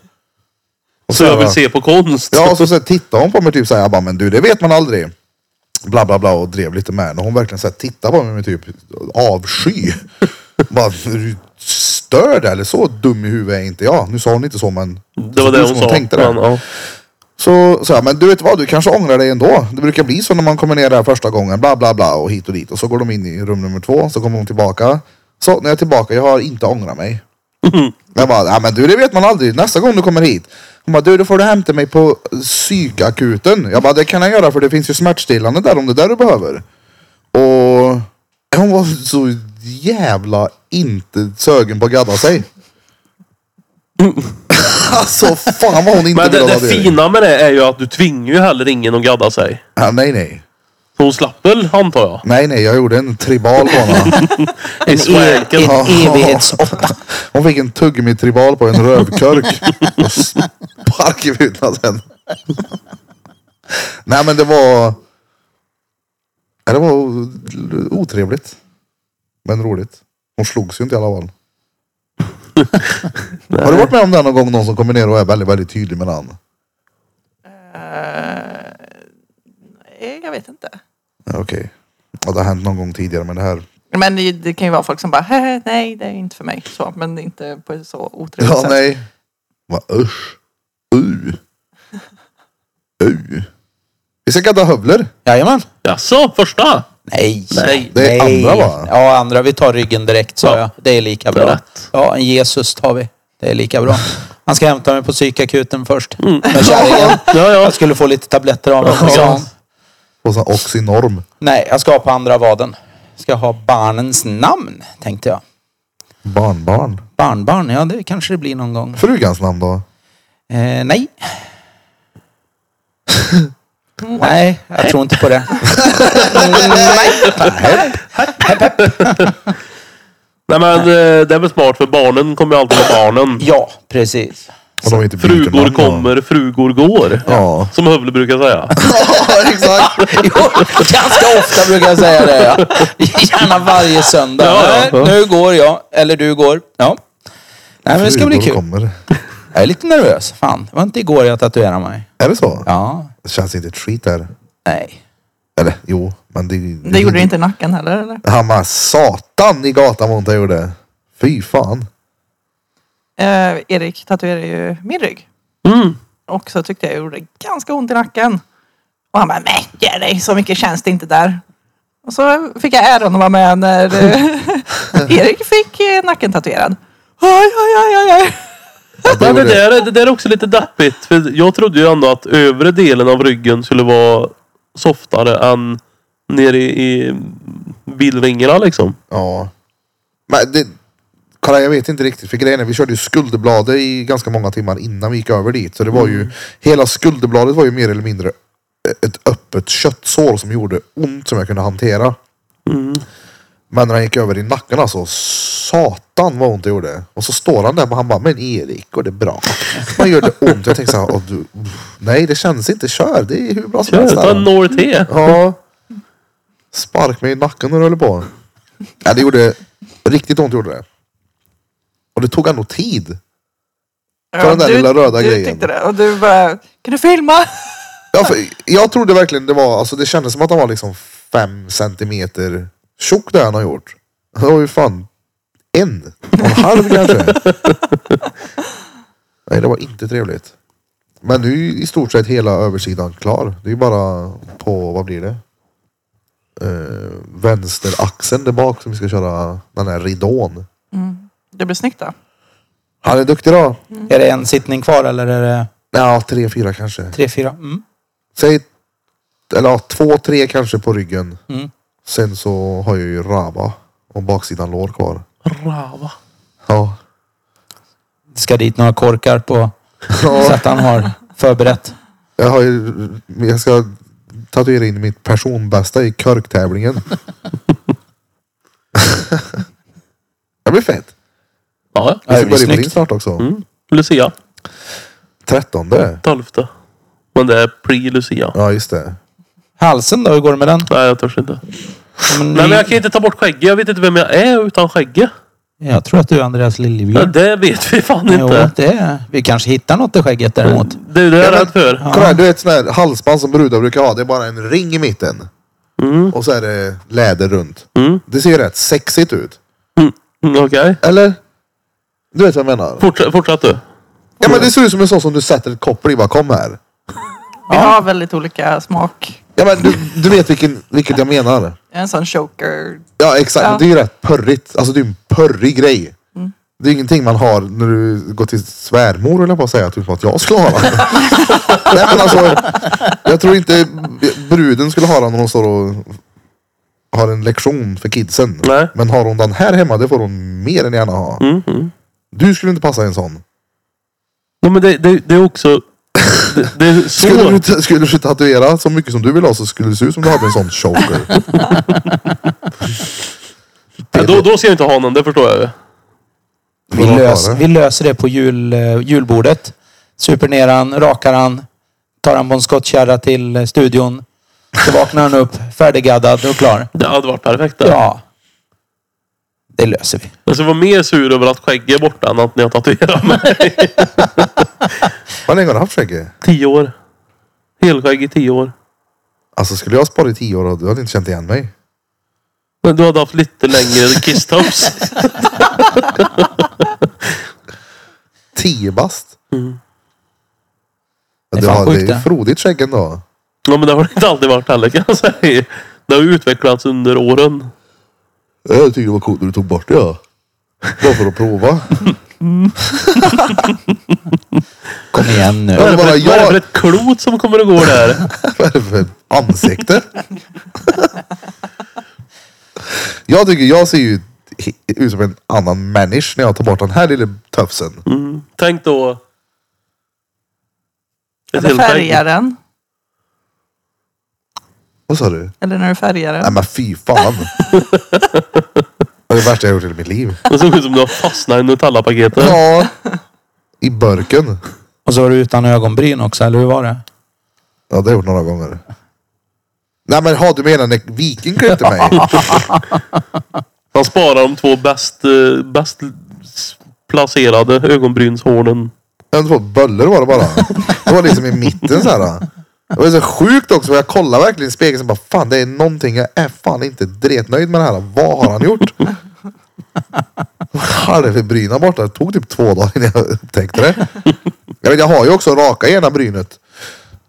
[SPEAKER 1] Och
[SPEAKER 3] Så jag vill
[SPEAKER 1] bara,
[SPEAKER 3] se på konst.
[SPEAKER 1] Ja, och så, så tittade hon på mig typ så här. Jag bara, men du det vet man aldrig. Bla bla bla och drev lite med henne. Och Hon verkligen så här tittade på mig med typ avsky. bara, är du störd eller så dum i huvudet är inte jag. Nu sa hon inte så men.
[SPEAKER 3] Det var det hon, sa.
[SPEAKER 1] tänkte det.
[SPEAKER 3] Men, ja.
[SPEAKER 1] Så sa jag, men du vet vad, du kanske ångrar dig ändå. Det brukar bli så när man kommer ner där första gången, bla bla bla och hit och dit. Och så går de in i rum nummer två, så kommer hon tillbaka. Så, när jag är tillbaka, jag har inte ångrat mig. Jag bara, ja men du det vet man aldrig, nästa gång du kommer hit. Hon bara, du då får du hämta mig på psykakuten. Jag bara, det kan jag göra för det finns ju smärtstillande där om det är där du behöver. Och hon var så jävla inte sögen på att gadda sig. alltså fan vad hon inte
[SPEAKER 3] men det,
[SPEAKER 1] ville
[SPEAKER 3] det
[SPEAKER 1] ha det.
[SPEAKER 3] fina med det är ju att du tvingar ju heller ingen att gadda sig.
[SPEAKER 1] Ja, nej, nej.
[SPEAKER 3] Så hon slapp väl antar jag.
[SPEAKER 1] Nej, nej, jag gjorde en tribal på honom.
[SPEAKER 3] I
[SPEAKER 2] En, ev,
[SPEAKER 3] swanken.
[SPEAKER 1] Ja.
[SPEAKER 2] en evighetsåtta.
[SPEAKER 1] Hon fick en tuggummi-tribal på en rövkörk. Och spark i sen. Nej, men det var... Ja, Det var otrevligt. Men roligt. Hon slogs ju inte i alla fall. Har du varit med om det här någon gång? Någon som kommer ner och är väldigt, väldigt tydlig med den?
[SPEAKER 4] Eh, nej, jag vet inte.
[SPEAKER 1] Ja, Okej. Ja, det har hänt någon gång tidigare men det här.
[SPEAKER 4] Men det, det kan ju vara folk som bara, "Hehe, nej det är inte för mig. Så, men det är inte på ett så otrevligt
[SPEAKER 1] Ja,
[SPEAKER 4] sätt.
[SPEAKER 1] nej. Vad usch. U. U. Vi ska gadda hövler.
[SPEAKER 2] Jajamän.
[SPEAKER 3] Jaså, första?
[SPEAKER 2] Nej.
[SPEAKER 3] Nej.
[SPEAKER 1] Det är andra, va?
[SPEAKER 2] Ja, andra. Vi tar ryggen direkt sa
[SPEAKER 3] Ja.
[SPEAKER 2] jag. Det är lika
[SPEAKER 3] Det är
[SPEAKER 2] bra.
[SPEAKER 3] rätt.
[SPEAKER 2] Ja, en Jesus tar vi. Det är lika bra. Han ska hämta mig på psykakuten först.
[SPEAKER 3] Mm.
[SPEAKER 2] Med kärringen.
[SPEAKER 3] Ja, ja.
[SPEAKER 2] Jag skulle få lite tabletter av honom. sa han.
[SPEAKER 1] Och så oxynorm.
[SPEAKER 2] Nej, jag ska ha på andra vaden. Ska ha barnens namn, tänkte jag.
[SPEAKER 1] Barnbarn.
[SPEAKER 2] Barnbarn, ja det kanske det blir någon gång.
[SPEAKER 1] Frugans namn då?
[SPEAKER 2] Eh, nej. nej, jag tror inte på det.
[SPEAKER 3] Nej men eh, det är väl smart för barnen kommer ju alltid vara barnen.
[SPEAKER 2] Ja, precis.
[SPEAKER 1] Och de inte byter namn
[SPEAKER 3] Frugor
[SPEAKER 1] då.
[SPEAKER 3] kommer, frugor går.
[SPEAKER 1] Ja.
[SPEAKER 3] Som Hövle brukar säga.
[SPEAKER 1] ja, exakt.
[SPEAKER 2] Jo, ganska ofta brukar jag säga det. Ja. Gärna varje söndag.
[SPEAKER 3] Ja, ja.
[SPEAKER 2] Nej, Nu går jag, eller du går. Ja. Nej, men det ska bli
[SPEAKER 1] Frugor
[SPEAKER 2] kul.
[SPEAKER 1] Kommer.
[SPEAKER 2] Jag är lite nervös. Fan, det var inte igår jag tatuerade mig.
[SPEAKER 1] Är det så?
[SPEAKER 2] Ja,
[SPEAKER 1] Det känns inte ett skit där.
[SPEAKER 2] nej.
[SPEAKER 1] Eller jo, men det...
[SPEAKER 4] Det gjorde det inte i nacken heller eller?
[SPEAKER 1] Han var satan i gatan vad ont jag gjorde. Fy fan.
[SPEAKER 4] Eh, Erik tatuerade ju min rygg.
[SPEAKER 3] Mm.
[SPEAKER 4] Och så tyckte jag gjorde ganska ont i nacken. Och han bara, nej ge dig, så mycket känns det inte där. Och så fick jag äran att vara med när eh, Erik fick eh, nacken tatuerad. Aj, aj, aj, aj, aj.
[SPEAKER 3] Nej,
[SPEAKER 1] gjorde
[SPEAKER 3] men det, där, är- det där är också lite deppigt. För jag trodde ju ändå att övre delen av ryggen skulle vara softare än nere i, i bilringarna liksom.
[SPEAKER 1] Ja. Men det... Kolla, jag vet inte riktigt. För grejen är, vi körde ju skulderbladet i ganska många timmar innan vi gick över dit. Så det var
[SPEAKER 3] Mm.
[SPEAKER 1] ju... Hela skulderbladet var ju mer eller mindre ett öppet köttsår som gjorde ont som jag kunde hantera.
[SPEAKER 3] Mm.
[SPEAKER 1] Men när han gick över i nacken alltså, satan vad ont det gjorde. Och så står han där och han bara, men Erik, går det bra? Man gör det ont. Jag tänkte så här, "Åh, du, nej det känns inte, kör. Det är hur bra som
[SPEAKER 3] Kör,
[SPEAKER 1] helst.
[SPEAKER 3] ta
[SPEAKER 1] här."
[SPEAKER 3] en
[SPEAKER 1] Mm.
[SPEAKER 3] Norte.
[SPEAKER 1] Ja. Spark mig i nacken när du håller på. Ja, det gjorde riktigt ont gjorde det. Och det tog ändå tid. För den där lilla röda
[SPEAKER 4] du
[SPEAKER 1] grejen.
[SPEAKER 4] Du tyckte det. Och du bara, kan du filma?
[SPEAKER 1] Ja, för jag trodde verkligen det var, alltså det kändes som att han var liksom fem centimeter tjock det han har gjort. Det var ju fan en och en halv kanske. Nej, det var inte trevligt. Men nu är ju i stort sett hela översidan klar. Det är ju bara på, vad blir det? Eh, vänsteraxeln där bak som vi ska köra den här ridån.
[SPEAKER 4] Det blir snyggt då.
[SPEAKER 1] Han är duktig då.
[SPEAKER 2] Är det en sittning kvar eller är det
[SPEAKER 1] Ja, tre, fyra kanske.
[SPEAKER 2] tre, fyra? Mm.
[SPEAKER 1] Säg, eller ja, två, tre kanske på ryggen.
[SPEAKER 2] Mm.
[SPEAKER 1] Sen så har jag ju Rava och baksidan lår kvar.
[SPEAKER 3] Rava.
[SPEAKER 1] Ja.
[SPEAKER 2] Det ska dit några korkar på så
[SPEAKER 1] ja
[SPEAKER 2] att han har förberett.
[SPEAKER 1] jag, har ju, jag ska tatuera in mitt personbästa i körktävlingen. det blir fett.
[SPEAKER 3] Ja,
[SPEAKER 1] Vi
[SPEAKER 3] ja.
[SPEAKER 2] Ja, det
[SPEAKER 1] ska
[SPEAKER 2] blir
[SPEAKER 1] börja med din
[SPEAKER 2] snyggt.
[SPEAKER 1] snart också.
[SPEAKER 3] Mm. Lucia.
[SPEAKER 1] Trettonde.
[SPEAKER 3] Tolfte. Men det är pre-Lucia.
[SPEAKER 1] Ja just det.
[SPEAKER 2] Halsen då, hur går det med den?
[SPEAKER 3] Nej, jag törs inte.
[SPEAKER 1] Mm.
[SPEAKER 2] Men
[SPEAKER 3] Nej, men jag kan inte ta bort skägget. Jag vet inte vem jag är utan skägget.
[SPEAKER 2] Jag tror att du är Andreas
[SPEAKER 3] Ja,
[SPEAKER 2] Liljebjörn.
[SPEAKER 3] det vet vi fan
[SPEAKER 2] Jo,
[SPEAKER 3] inte.
[SPEAKER 2] det är... Vi kanske hittar något i skägget däremot.
[SPEAKER 3] Det är det jag är
[SPEAKER 1] Ja, men-
[SPEAKER 3] rädd för.
[SPEAKER 1] Kolla här, du vet sån här halsband som brudar brukar ha. Det är bara en ring i mitten. Och så är det läder runt.
[SPEAKER 3] Mm.
[SPEAKER 1] Det ser ju rätt sexigt ut.
[SPEAKER 3] Mm. mm, Okej.
[SPEAKER 1] Eller? Du vet vad jag menar?
[SPEAKER 3] Fortsätt, fortsätt du.
[SPEAKER 1] Ja men det ser ut som en sån som du sätter ett koppel i. Bara kom här.
[SPEAKER 4] Vi har väldigt olika smak.
[SPEAKER 1] Ja men du, du vet vilken, vilket jag menar.
[SPEAKER 4] En sån choker.
[SPEAKER 1] Ja exakt,
[SPEAKER 4] Ja.
[SPEAKER 1] Men det är ju rätt pörrigt. Alltså det är ju en pörrig grej. Det är ingenting man har när du går till svärmor eller på att säga, typ som att jag skulle ha den. Nej men alltså, jag tror inte bruden skulle ha den när hon står och har en lektion för kidsen.
[SPEAKER 3] Nej.
[SPEAKER 1] Men har hon den här hemma, det får hon mer än gärna ha.
[SPEAKER 3] Mm. Mm.
[SPEAKER 1] Du skulle inte passa i en sån.
[SPEAKER 3] Ja, men det, det, det är också... Det, det är så...
[SPEAKER 1] Skulle du, ta- skulle du tatuera så mycket som du vill ha så skulle det se ut som du hade en sån choker.
[SPEAKER 3] Ja, då, då ska jag inte ha någon, det förstår jag ju.
[SPEAKER 2] Vi,
[SPEAKER 1] Vad
[SPEAKER 2] lös,
[SPEAKER 1] var det?
[SPEAKER 2] vi löser det på jul, eh, julbordet. Super ner han, rakar han, tar han på en skottkärra till eh, studion. Så vaknar han upp, färdiggaddad och klar.
[SPEAKER 3] Det hade varit perfekt det.
[SPEAKER 2] Ja. Det löser vi.
[SPEAKER 3] Jag skulle vara mer sur över att skägget är borta än att ni har tatuerat mig.
[SPEAKER 1] Vad länge har du haft skägget?
[SPEAKER 3] tio år. Helskägg i tio år.
[SPEAKER 1] Alltså skulle jag ha sparat i tio år och du hade inte känt igen mig.
[SPEAKER 3] Men du hade haft lite längre kisstups.
[SPEAKER 1] 10 bast.
[SPEAKER 2] Det är
[SPEAKER 1] Ja, Du
[SPEAKER 2] fan
[SPEAKER 1] har, det är
[SPEAKER 2] sjukt,
[SPEAKER 1] ju
[SPEAKER 2] det.
[SPEAKER 1] frodigt skägg ändå.
[SPEAKER 3] Ja men det har det inte alltid varit heller kan jag säga. Det har ju utvecklats under åren.
[SPEAKER 1] Jag tyckte det var coolt när du tog bort det. Ja. Bara för att prova.
[SPEAKER 2] Kom igen nu.
[SPEAKER 1] Ja, det
[SPEAKER 3] Vad
[SPEAKER 1] bara
[SPEAKER 3] är det för
[SPEAKER 1] jag.
[SPEAKER 3] ett klot som kommer att gå där?
[SPEAKER 1] Vad är det för ansikte? jag tycker jag ser ju he- ut som en annan människa när jag tar bort den här lilla töfsen.
[SPEAKER 3] Mm. Tänk då. Ett
[SPEAKER 4] Eller
[SPEAKER 3] helt
[SPEAKER 4] färgar
[SPEAKER 3] ägg.
[SPEAKER 4] den.
[SPEAKER 1] Vad sa du?
[SPEAKER 4] Eller när du färgar
[SPEAKER 1] Nej
[SPEAKER 4] den.
[SPEAKER 1] men fy fan. det är det värsta jag gjort i hela mitt liv.
[SPEAKER 3] Det såg ut som du har fastnat i Nutella-paketet.
[SPEAKER 1] Ja. I burken.
[SPEAKER 2] Och så var du utan ögonbryn också, eller hur var det?
[SPEAKER 1] Ja det har jag gjort några gånger. Nej men ha, du menar när viking klippte mig?
[SPEAKER 3] Han sparar de två bäst, eh, bäst s- placerade ögonbrynshåren.
[SPEAKER 1] En två böller var det bara. Det var liksom i mitten så här. Det var så sjukt också. för Jag kollade verkligen i spegeln och bara fan det är någonting. Jag är fan inte dretnöjd med det här. Vad har han gjort? Halva bryna borta. Det tog typ två dagar innan jag upptäckte det. Jag, vet, jag har ju också raka ena brynet.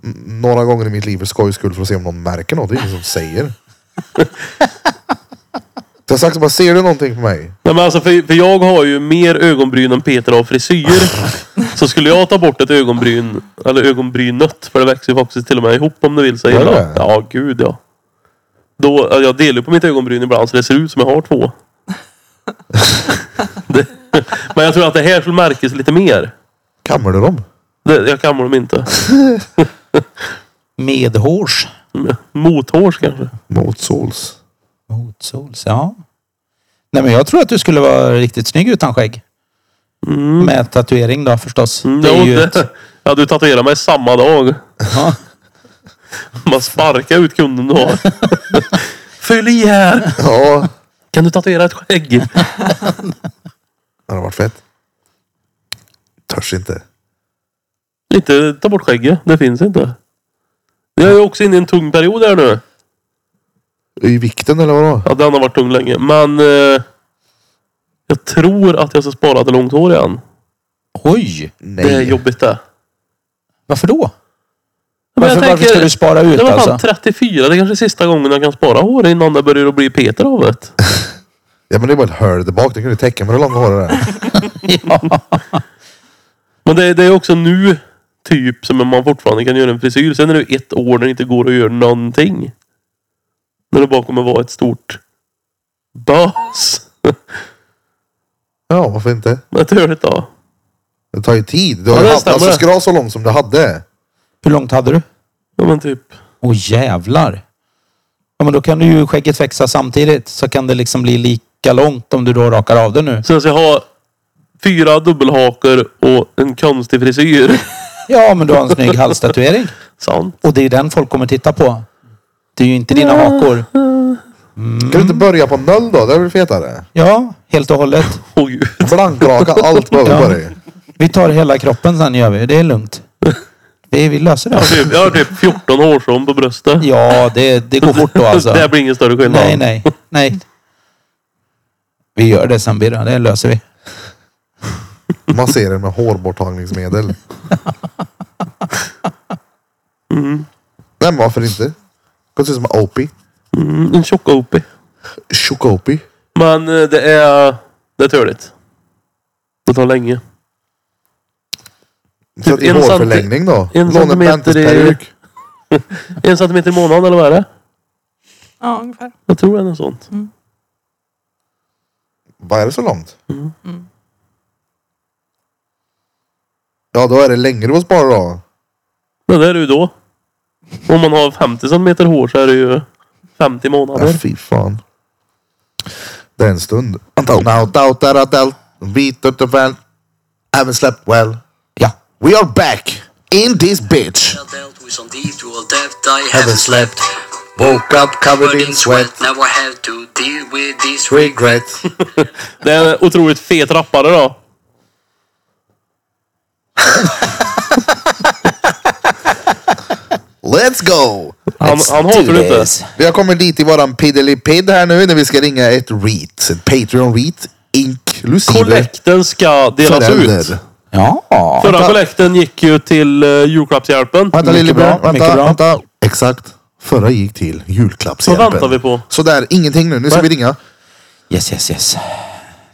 [SPEAKER 1] n- Några gånger i mitt liv för skojs skull för att se om någon märker något. Det är ingen som säger. Jag har sagt så bara, ser du någonting på mig?
[SPEAKER 3] Nej men alltså för, för jag har ju mer ögonbryn än Peter har frisyr. Så skulle jag ta bort ett ögonbryn, eller ögonbrynet, för det växer ju faktiskt till och med ihop om du vill säga
[SPEAKER 1] Gör
[SPEAKER 3] illa.
[SPEAKER 1] det?
[SPEAKER 3] Ja gud ja. Då, ja, jag delar ju på mitt ögonbryn ibland så det ser ut som jag har två. det, men jag tror att det här skulle märkas lite mer.
[SPEAKER 1] Kammar du dem?
[SPEAKER 3] Det, jag kammar dem inte.
[SPEAKER 2] Medhårs.
[SPEAKER 3] Mothårs kanske.
[SPEAKER 1] Mot sols.
[SPEAKER 2] Motsols, ja. Nej men jag tror att du skulle vara riktigt snygg utan skägg. Med tatuering då förstås. det är
[SPEAKER 3] Mm. Jo,
[SPEAKER 2] ju ett,
[SPEAKER 3] det- Mm, Ja, du tatuerade mig samma dag.
[SPEAKER 2] ja.
[SPEAKER 3] Man sparkar ut kunden då. Fyll i här!
[SPEAKER 1] Ja.
[SPEAKER 3] Kan du tatuera ett skägg?
[SPEAKER 1] Det hade varit fett. Törs inte.
[SPEAKER 3] Inte ta bort skägget. Det finns inte. Jag är ju också inne i en tung period här nu.
[SPEAKER 1] I vikten eller vadå?
[SPEAKER 3] Ja, den har varit tung länge. Men eh, jag tror att jag ska spara till långt hår igen.
[SPEAKER 2] Oj!
[SPEAKER 1] Nej.
[SPEAKER 3] Det är jobbigt det.
[SPEAKER 2] Varför då?
[SPEAKER 3] Men
[SPEAKER 2] Varför, varför ska du spara ut
[SPEAKER 3] det var fan
[SPEAKER 2] alltså?
[SPEAKER 3] 34. Det är kanske sista gången jag kan spara hår innan det börjar att bli Peter av det.
[SPEAKER 1] Ja men det är bara ett hål där bak. Det kan du täcka med det långa håret där.
[SPEAKER 2] ja.
[SPEAKER 3] Men det, det är också nu typ som man fortfarande kan göra en frisyr. Sen är det ju ett år när det inte går att göra någonting. När det bara kommer vara ett stort bas.
[SPEAKER 1] Ja varför inte?
[SPEAKER 3] Men det hör det då.
[SPEAKER 1] Det tar ju tid. Du har
[SPEAKER 3] Ja,
[SPEAKER 1] ju
[SPEAKER 3] det
[SPEAKER 1] haft,
[SPEAKER 3] stämmer.
[SPEAKER 1] alltså, ska du ha så långt som du hade?
[SPEAKER 2] Hur långt hade du?
[SPEAKER 3] Ja men typ.
[SPEAKER 2] Åh jävlar! Ja men då kan du ju skägget växa samtidigt. Så kan det liksom bli lika långt om du då rakar av det nu.
[SPEAKER 3] Sen ska jag ha fyra dubbelhakor och en konstig frisyr.
[SPEAKER 2] Ja men du har en snygg halstatuering.
[SPEAKER 3] Sant.
[SPEAKER 2] Och det är ju den folk kommer titta på. Det är ju inte dina hakor.
[SPEAKER 1] Kan du inte
[SPEAKER 3] Mm.
[SPEAKER 1] börja på noll då? Det är väl fetare?
[SPEAKER 2] Ja, helt och hållet.
[SPEAKER 3] Åh gud.
[SPEAKER 1] Blankraka allt behöver
[SPEAKER 2] Ja.
[SPEAKER 1] på dig.
[SPEAKER 2] Vi tar hela kroppen sen gör vi. Det är lugnt. Vi, vi löser det.
[SPEAKER 3] Typ, jag har typ 14 hårstrån på bröstet.
[SPEAKER 2] Ja, det, det går fort då alltså.
[SPEAKER 3] Det här blir ingen större skillnad.
[SPEAKER 2] Nej, nej, nej. Vi gör det sen Birra. Det löser vi.
[SPEAKER 1] Massera den med hårborttagningsmedel. Nej men varför inte? Det ser ut som Opie.
[SPEAKER 3] Mm, en tjock opie.
[SPEAKER 1] Tjock Opie.
[SPEAKER 3] Men eh, det är... Det är törligt. Det tar länge.
[SPEAKER 1] Sätt i
[SPEAKER 3] en centi-
[SPEAKER 1] hårförlängning då.
[SPEAKER 3] en
[SPEAKER 1] Låna
[SPEAKER 3] centimeter
[SPEAKER 1] Bentes
[SPEAKER 3] i-
[SPEAKER 1] peruk.
[SPEAKER 3] En centimeter i månaden eller vad är det?
[SPEAKER 4] Ja, ungefär.
[SPEAKER 3] Jag tror det är något sånt.
[SPEAKER 2] Mm.
[SPEAKER 1] Vad är det så långt?
[SPEAKER 3] Mm.
[SPEAKER 1] Ja, då är det längre att spara då.
[SPEAKER 3] Men det är det ju då. Om man har 50 centimeter hår så är det ju 50
[SPEAKER 1] Ja,
[SPEAKER 3] månader.
[SPEAKER 1] fy fan. Det är en stund. Now doubt that adult, beat up the van, haven't slept well.
[SPEAKER 2] Ja.
[SPEAKER 1] We are back in this bitch.
[SPEAKER 5] dealt with some deeds to all death, I
[SPEAKER 1] Haven't
[SPEAKER 5] haven't
[SPEAKER 1] slept,
[SPEAKER 5] slept.
[SPEAKER 1] woke up covered in sweat,
[SPEAKER 5] Now I have to deal with this
[SPEAKER 1] regret.
[SPEAKER 3] Det är en otroligt fet rappare då.
[SPEAKER 1] Let's go!
[SPEAKER 3] Han,
[SPEAKER 2] Let's
[SPEAKER 3] han
[SPEAKER 2] do
[SPEAKER 3] hatar det inte.
[SPEAKER 2] this.
[SPEAKER 1] Vi har kommit dit i våran piddelipidd här nu när vi ska ringa ett REIT. Ett Patreon REIT. Inklusive
[SPEAKER 3] Kollekten ska delas ut.
[SPEAKER 1] förälder.
[SPEAKER 2] Ja.
[SPEAKER 3] Förra kollekten gick ju till uh, julklappshjälpen.
[SPEAKER 1] Vänta
[SPEAKER 2] Mycket
[SPEAKER 1] lillebror.
[SPEAKER 2] bra, mycket
[SPEAKER 1] Vänta,
[SPEAKER 2] bra.
[SPEAKER 1] vänta. Exakt. Förra gick till julklappshjälpen.
[SPEAKER 3] Vad väntar vi på?
[SPEAKER 1] Sådär, ingenting nu. Nu ska vi ringa.
[SPEAKER 2] Yes, yes, yes.